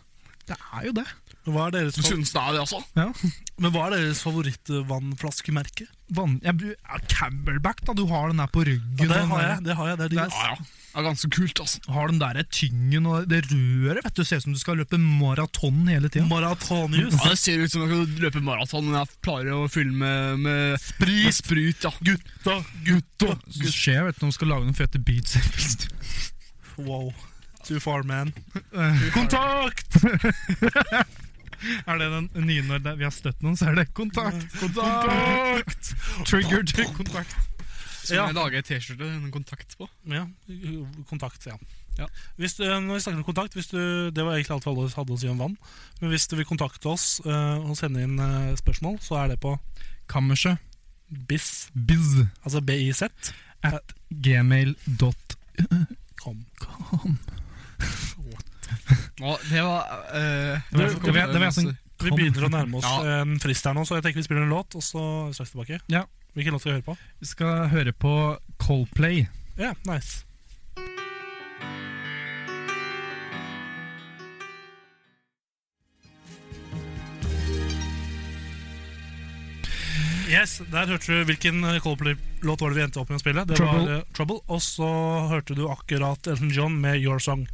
B: Det er jo det.
A: Men hva er deres,
C: Du
A: favor
C: synes det er det, altså?
A: men hva er deres favorittvannflaskemerke?
B: Vann, jeg, bru- ja, Camelback, da. Du har den der på ryggen.
A: Ja, det
B: og den
A: har
B: der-
A: jeg. det har jeg, det er digg,
B: Det er-
A: ass.
C: Ja, ja. Det er ganske kult, altså.
B: Har den der tyngen og det røret. vet du, Ser ut som du skal løpe maraton hele tida.
A: Maratonjus.
C: Ja, det ser ut som jeg kan løpe maraton, men jeg klarer å fylle med, med sprut. Med sprut ja.
A: Gutta, gutta.
B: Skjer, vet du, når man skal lage noen fete beats.
A: Wow. Too far, man. Kontakt!
B: er det den nye når det- vi har støtt noen, så er det kontakt? Kontakt! Trigger til kontakt.
C: Skal
A: Ja.
C: jeg lage ei T-skjorte med en kontakt på?
A: Ja, kontakt, ja.
C: Ja.
A: Hvis du, når vi snakker om kontakt hvis du, Det var egentlig alt vi hadde- hadde å si om vann. Men hvis du vil kontakte oss eh, og sende inn eh, spørsmål, så er det på
B: Kammerset.
A: BIZ,
B: Biz.
A: altså BIZ,
B: Gmail.com.
A: kom.
C: Ja, det var eh,
B: Det var- det var- det var sånn-
A: Vi
B: Kom.
A: begynner å nærme oss eh,
C: Ja.
A: en frist her nå, så jeg tenker vi spiller en låt, og så er vi straks tilbake.
B: Ja.
A: Hvilken låt skal vi høre på?
B: Vi skal høre på Coldplay.
A: Ja, nice. Yes, Der hørte du hvilken eh, Coldplay-låt var det vi endte opp med å spille. Det
B: Trouble.
A: var eh, Trouble, Og så hørte du akkurat Elton John med Your Song.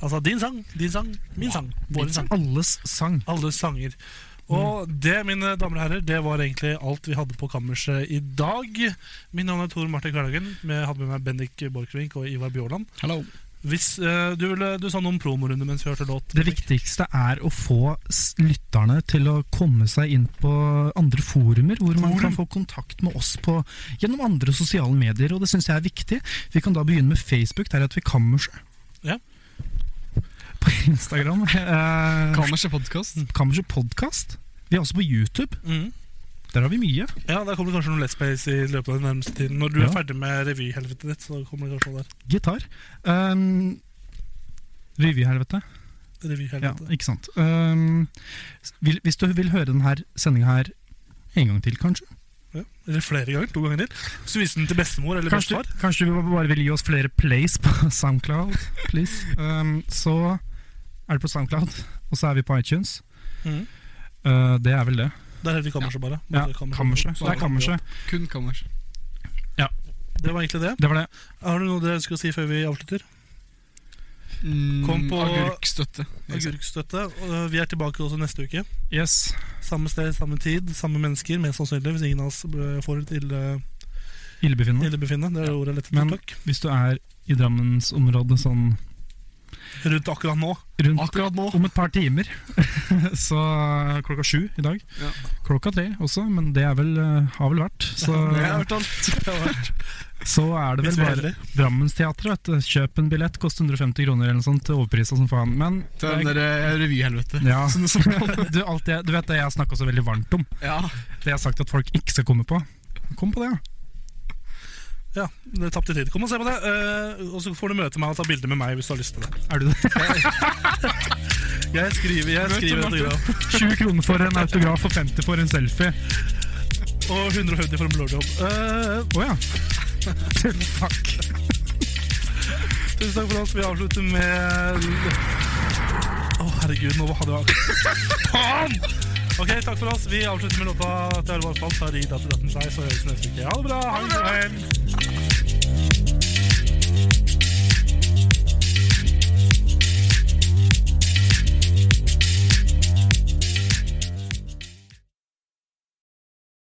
A: Altså din sang, din sang, min sang, vår sang.
B: Alles sang.
A: Alle sanger. Og
B: Mm.
A: det, mine damer og herrer, det var egentlig alt vi hadde på kammerset i dag. Min navn er Tor Martin Kverdagen. men Jeg hadde med meg Bendik Borchgrevink og Ivar Bjørland.
C: Hello.
A: Hvis, eh, du, ville, du sa noen promorunde mens vi hørte låt.
B: Det viktigste er å få s- lytterne til å komme seg inn på andre forumer, hvor man
A: Forum.
B: kan få kontakt med oss på, gjennom andre sosiale medier, og det syns jeg er viktig. Vi kan da begynne med Facebook, der heter vi Kammerset.
A: Ja.
B: På Instagram. Eh,
C: Kammerset podkast.
B: Kammerset podkast. Vi er også på YouTube.
A: Mhm.
B: Der har vi mye.
A: Ja, Der kommer det kanskje noen Let's Plays i løpet av den nærmeste tiden. Når du
B: Ja.
A: er ferdig med revyhelvetet ditt, så kommer det kanskje noe der.
B: Gitar. Um, Revyhelvete. Ja,
A: Revyhelvete.
B: ikke sant. Um, vil, hvis du vil høre denne sendinga her en gang til, kanskje?
A: Ja. Eller flere ganger. To ganger til. Hvis du viser den til bestemor eller
B: Kanskje,
A: bestefar.
B: kanskje du bare vil gi oss flere plays på SoundCloud, please. Um, så er det på SoundCloud, og så er vi på iTunes.
A: Mhm.
B: Uh, det er vel det.
A: Der heter vi Kammerset, bare.
B: Ja,
A: Bare
B: Kammerset. Det er kammerset.
C: Kun kammerset.
A: Det var egentlig det.
B: Det var det.
A: Har du noe dere ønsker å si før vi avslutter?
C: Mm,
A: Kom på-
C: Agurkstøtte.
A: Agurkstøtte. og eh, Vi er tilbake også neste uke.
B: Yes.
A: Samme sted, samme tid, samme mennesker, mest sannsynlig, hvis ingen av oss ble- får et ille,
B: Illebefinnende.
A: illebefinnende. Det er ordet lett
B: Mm. Men-
A: etter takk.
B: Hvis du er i Drammensområdet sånn
A: Rundt akkurat nå.
B: rundt
C: Akkurat nå.
B: om et par timer, så klokka sju i dag.
C: Ja.
B: Klokka tre også, men det er vel, uh, har vel vært. Så, så er det
A: Hvis vi er
B: vel bare
A: heldige.
B: Drammensteatret, vet du. Kjøp en billett, koster 150 kroner eller noe sånt, til overprisa som faen. Men
C: Til den der eh, revyhelvete. Sånn
B: ja. du, alt det, du vet det jeg har snakka så veldig varmt om?
C: Ja.
B: Det jeg har sagt at folk ikke skal komme på. Kom på det, ja.
A: Ja, det er tapt i tid. Kom og se på det. eh, og så får du møte meg og ta bilde med meg hvis du har lyst til det.
B: Er du det?
A: Jeg skriver, jeg skriver autograf.
B: 20 kroner for en autograf og 50 for en selfie.
A: Og 150 for en blowjob. Eh,
B: Å ja. Fuck.
A: tusen takk for oss. Vi avslutter med Å, herregud, nå hadde jeg Faen! Ok, takk for oss. Vi avslutter med låta til Elvar Spalt. Tar i datter datten seg, så høres vi neste uke. Ha det bra. Ha det bra.